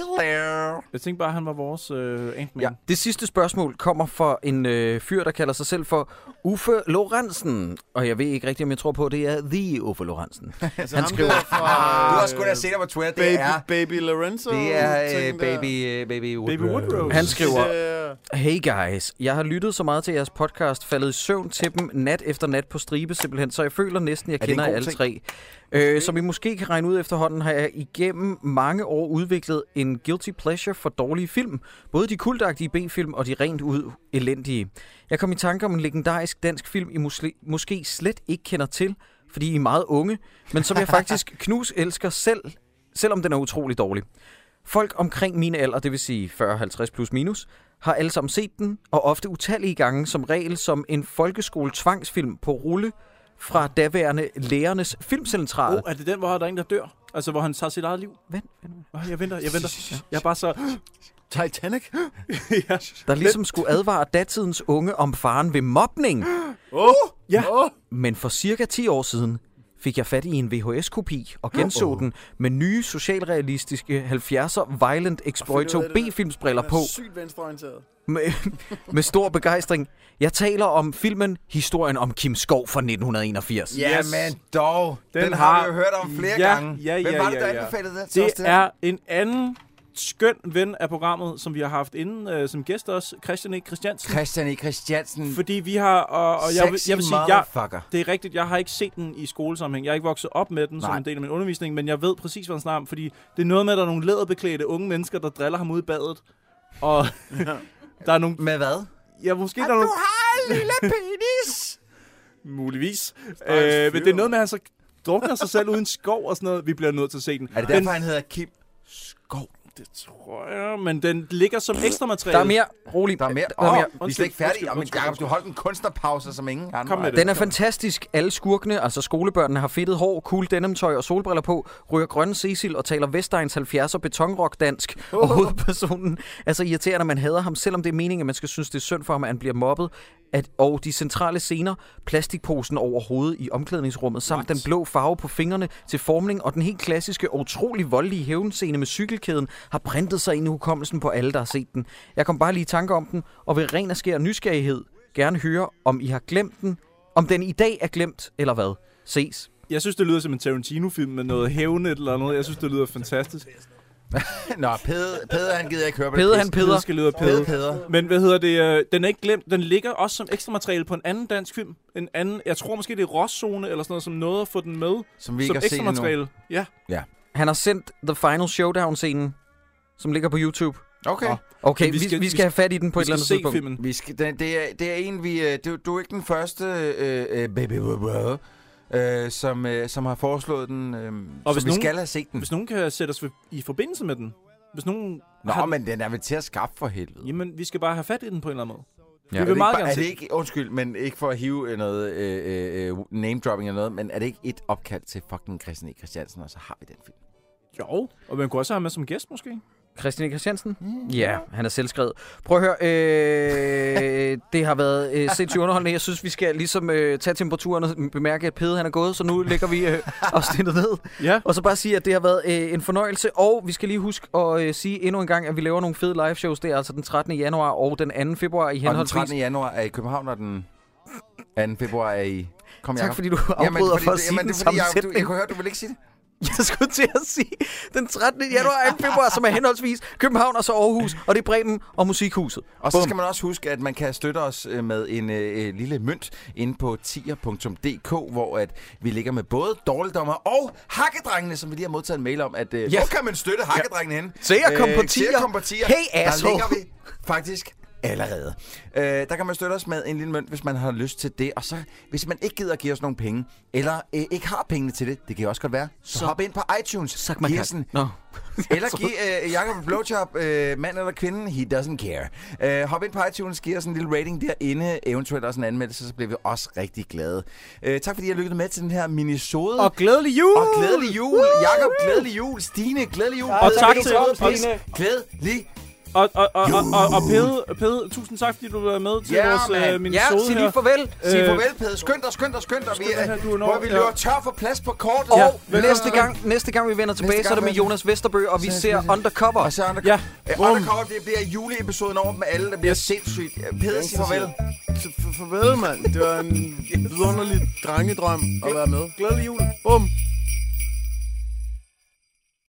S7: Hilarious.
S6: Jeg tænkte bare, at han var vores øh, Ant-Man.
S5: Ja. Det sidste spørgsmål kommer fra en øh, fyr, der kalder sig selv for Uffe Lorentzen. Og jeg ved ikke rigtigt, om jeg tror på, at det er The Uffe Lorentzen.
S8: Altså,
S5: Han
S8: ham
S5: skriver-
S8: der fra, øh,
S7: Du har sgu da set ham på Twitter. Det
S8: Baby,
S7: er,
S8: baby Lorenzo.
S7: det er øh,
S8: ting der. øh,
S7: baby, øh, baby Woodrow.
S6: Baby Woodrose.
S5: Han skriver,
S8: Ja.
S5: Hey guys, jeg har lyttet så meget til jeres podcast, faldet i søvn til dem nat efter nat på stribe simpelthen, så jeg føler næsten, jeg
S7: Er det en
S5: kender
S7: god
S5: alle
S7: ting?
S5: tre. Øh, som I måske kan regne ud efterhånden, har jeg igennem mange år udviklet en guilty pleasure for dårlige film. Både de kultagtige B-film og de rent ud elendige. Jeg kom i tanke om en legendarisk dansk film, I musli- måske slet ikke kender til, fordi I er meget unge, men som jeg faktisk knus elsker selv, selvom den er utrolig dårlig. Folk omkring min alder, det vil sige 40-50 plus minus, har alle sammen set den, og ofte utallige gange som regel som en folkeskole-tvangsfilm på rulle fra daværende lærernes filmcentral.
S6: Oh, er det den, hvor der er en, der dør? Altså, hvor han tager sit eget liv?
S5: Vent,
S6: Åh, Jeg venter, jeg venter. Jeg er bare så...
S8: Titanic.
S6: ja.
S5: Der ligesom skulle advare datidens unge om faren ved mobning.
S8: Åh!
S6: Ja.
S8: Åh!
S5: Men for cirka 10 år siden fik jeg fat i en VHS-kopi og genså den med nye socialrealistiske 70'er Violent Exploito
S8: Finder ud af det der.
S5: B-filmsbriller
S8: Han er
S5: på.
S8: Sygt venstreorienteret.
S5: med, med stor begejstring. Jeg taler om filmen Historien om Kim Skov fra 1981.
S7: Ja,
S6: Yes.
S7: men dog. Den,
S6: Den
S7: den har vi jo
S6: har-
S7: hørt om flere
S6: Ja,
S7: gange.
S6: ja,
S7: Hvem
S6: ja,
S7: var det,
S6: ja,
S7: der
S6: ja.
S7: anbefalede den? til os
S6: Det
S7: der?
S6: er en anden skøn ven af programmet, som vi har haft inden øh, som gæst også, Christian E. Christiansen.
S7: Christian E. Christiansen.
S6: Fordi vi har... Og, og jeg, vil, jeg vil sige, jeg,
S7: motherfucker.
S6: det er rigtigt, jeg har ikke set den i skolesammenhæng. Jeg er ikke vokset op med den Nej. som
S7: Nej.
S6: en del af min undervisning, men jeg ved præcis, hvad han snakker om, fordi det er noget med, at der er nogle læderbeklædte unge mennesker, der driller ham ud i badet. Og der er nogle...
S7: Med hvad?
S6: Ja, måske der er nogle...
S7: har en lille penis!
S6: Muligvis.
S7: fyr.
S6: Øh, men det er noget med, at han så drukner sig selv uden skov og sådan noget. Vi bliver nødt til at se den.
S7: er det derfor, han hedder Kim Skov?
S6: Det tror jeg, men den ligger som ekstra materiale.
S5: Der er mere. Rolig.
S7: Der er mere.
S5: Der er
S7: Åh,
S5: mere.
S7: vi er slet ikke færdige.
S6: undskyld,
S7: Jamen,
S6: undskyld,
S7: Jacob, du holdt en kunstnerpause, som ingen andre.
S6: Kom med det.
S5: Den er fantastisk. Alle skurkene, altså skolebørnene, har fedtet hår, cool denimtøj og solbriller på, ryger grønne Cecil og taler Vestegns 70'er betonrock dansk. Og hovedpersonen er så irriterende, at man hader ham, selvom det er meningen, at man skal synes, det er synd for ham, at han bliver mobbet. At, og de centrale scener, plastikposen over hovedet i omklædningsrummet, samt den blå farve på fingrene til formning, og den helt klassiske og utrolig voldelige hævnscene med cykelkæden, har printet sig ind i hukommelsen på alle, der har set den. Jeg kom bare lige i tanke om den, og ved ren og skær nysgerrighed gerne høre, om I har glemt den, om den i dag er glemt, eller hvad? Ses.
S6: Jeg synes, det lyder som en Tarantino-film med noget hævnet eller noget. Jeg synes, det lyder fantastisk.
S7: Nå, Peder, Peder, han gider ikke høre på
S5: Peder,
S7: det.
S5: han
S7: pis.
S5: peder.
S6: Det skal lyde af pæde.
S7: Peder, Peder.
S6: Men hvad hedder det? øh, Den er ikke glemt. Den ligger også som ekstra materiale på en anden dansk film. En anden, jeg tror måske, det er Rosszone eller sådan noget, som nåede at få den med.
S7: Som vi ikke
S6: som
S7: har set
S6: ekstra
S7: endnu.
S6: materiale. Ja.
S5: Han har sendt The Final Showdown-scenen, som ligger på YouTube.
S7: Okay.
S6: Nå.
S5: Okay,
S6: Men
S5: vi skal, vi, vi skal have fat i den på
S6: vi
S5: et eller andet
S6: skal se
S5: tidspunkt.
S6: filmen.
S7: Vi skal, det, det, er, det er en, vi... øh, Du, du er ikke den første øh, øh, baby, øh, øh, som, øh, som har foreslået den, øh, som
S6: hvis
S7: vi
S6: nogen-
S7: skal have set den.
S6: Hvis nogen kan sætte os ved- i forbindelse med den. Hvis nogen
S7: Nå,
S6: har,
S7: men den er vel til at skaffe for helvede.
S6: Jamen, vi skal bare have fat i den på en eller anden måde.
S5: Ja.
S6: Ja. Vi vil meget
S7: er
S6: gerne
S7: det
S6: se den.
S7: ikke, bare- er det ikke, undskyld, men ikke for at hive øh, noget øh, øh, name-dropping eller noget, men er det ikke et opkald til fucking Christian E. Christiansen, og så har vi den film?
S6: Jo, og man kunne også have ham med som gæst måske.
S5: Christian E. Christiansen?
S7: Mm.
S5: Ja, han er selvskrevet. Prøv at høre, øh, det har været øh, sindssygt underholdende. Jeg synes, vi skal ligesom øh, tage temperaturen og bemærke, at Pede han er gået, så nu lægger vi øh, afsnittet ned.
S6: Ja.
S5: Og så bare sige, at det har været øh, en fornøjelse, og vi skal lige huske at øh, sige endnu en gang, at vi laver nogle fede live shows. Det er altså den 13. januar og den 2. februar i
S7: Og den
S5: henholdsvis.
S7: 13. januar er i København, og den 2. februar er i... Kom,
S5: Tak
S7: Jacob.
S5: fordi du afbryder for at sige
S7: jamen,
S5: den
S7: det er fordi,
S5: samme
S7: Jacob, du, jeg
S5: sætning.
S7: kunne høre, du ville ikke sige det.
S5: Jeg skulle til at sige den 13. januar og 2. februar, som er henholdsvis København og så Aarhus, og det er Bremen og Musikhuset.
S7: Og så
S5: Bum.
S7: skal man også huske, at man kan støtte os øh, med en øh, øh, lille mønt inde på tier.dk, hvor at vi ligger med både dårligdommer og hakkedrengene, som vi lige har modtaget en mail om, at øh, yes. hvor kan man støtte hakkedrengene ja. henne?
S5: Se at komme på
S7: Øh, se at
S5: Tier.
S7: komme på tier.
S5: Hey,
S7: Der
S5: asshole.
S7: ligger vi faktisk allerede. Øh, der kan man støtte os med en lille mønt, hvis man har lyst til det. Og så, hvis man ikke gider at give os nogle penge, eller øh, ikke har pengene til det, det kan jo også godt være, så,
S5: Så-
S7: så hop ind på iTunes.
S5: Sak man
S7: Giv
S5: kan.
S7: os en
S5: Nå.
S7: eller giv øh, Jacob en blowjob, øh, mand eller kvinde, he doesn't care. Øh, hop ind på iTunes, giv os en lille rating derinde, eventuelt også en anmeldelse, så bliver vi også rigtig glade. Øh, tak fordi I har lyttet med til den her minisode.
S6: Og glædelig jul!
S7: og glædelig jul, Jakob, glædelig jul, Stine, glædelig jul.
S6: Og
S7: Peder,
S6: tak
S7: Peder,
S6: til-
S7: Peder, Peder, Glædelig
S6: Og, og, og, og, og, og Pede, Pede, tusind tak, fordi du var med til
S7: Ja,
S6: vores øh,
S7: mand.
S6: minisode
S5: Ja,
S6: her.
S5: sig lige farvel.
S7: Sig
S6: Øh,
S7: farvel, Pede. Skynd dig, skynd dig, skynd dig. Vi,
S6: skynd dig her, du er
S7: er,
S6: nå-
S7: hvor vi
S6: ja.
S7: løber tør for plads på kortet.
S6: Ja,
S7: Og
S6: velkommen.
S5: Næste gang, næste gang vi vender tilbage,
S7: Næste
S5: så er det med
S7: gang, velkommen.
S5: Jonas Vesterbø, og vi ser Undercover.
S7: Og så er der
S6: Ja,
S7: Øh, Undercover, det bliver juleepisoden over med alle, der bliver sindssygt. Øh, Peder, sig farvel.
S8: Farvel, mand. Det var en vidunderlig drengedrøm at være med.
S7: Glædelig jul.
S8: Bum.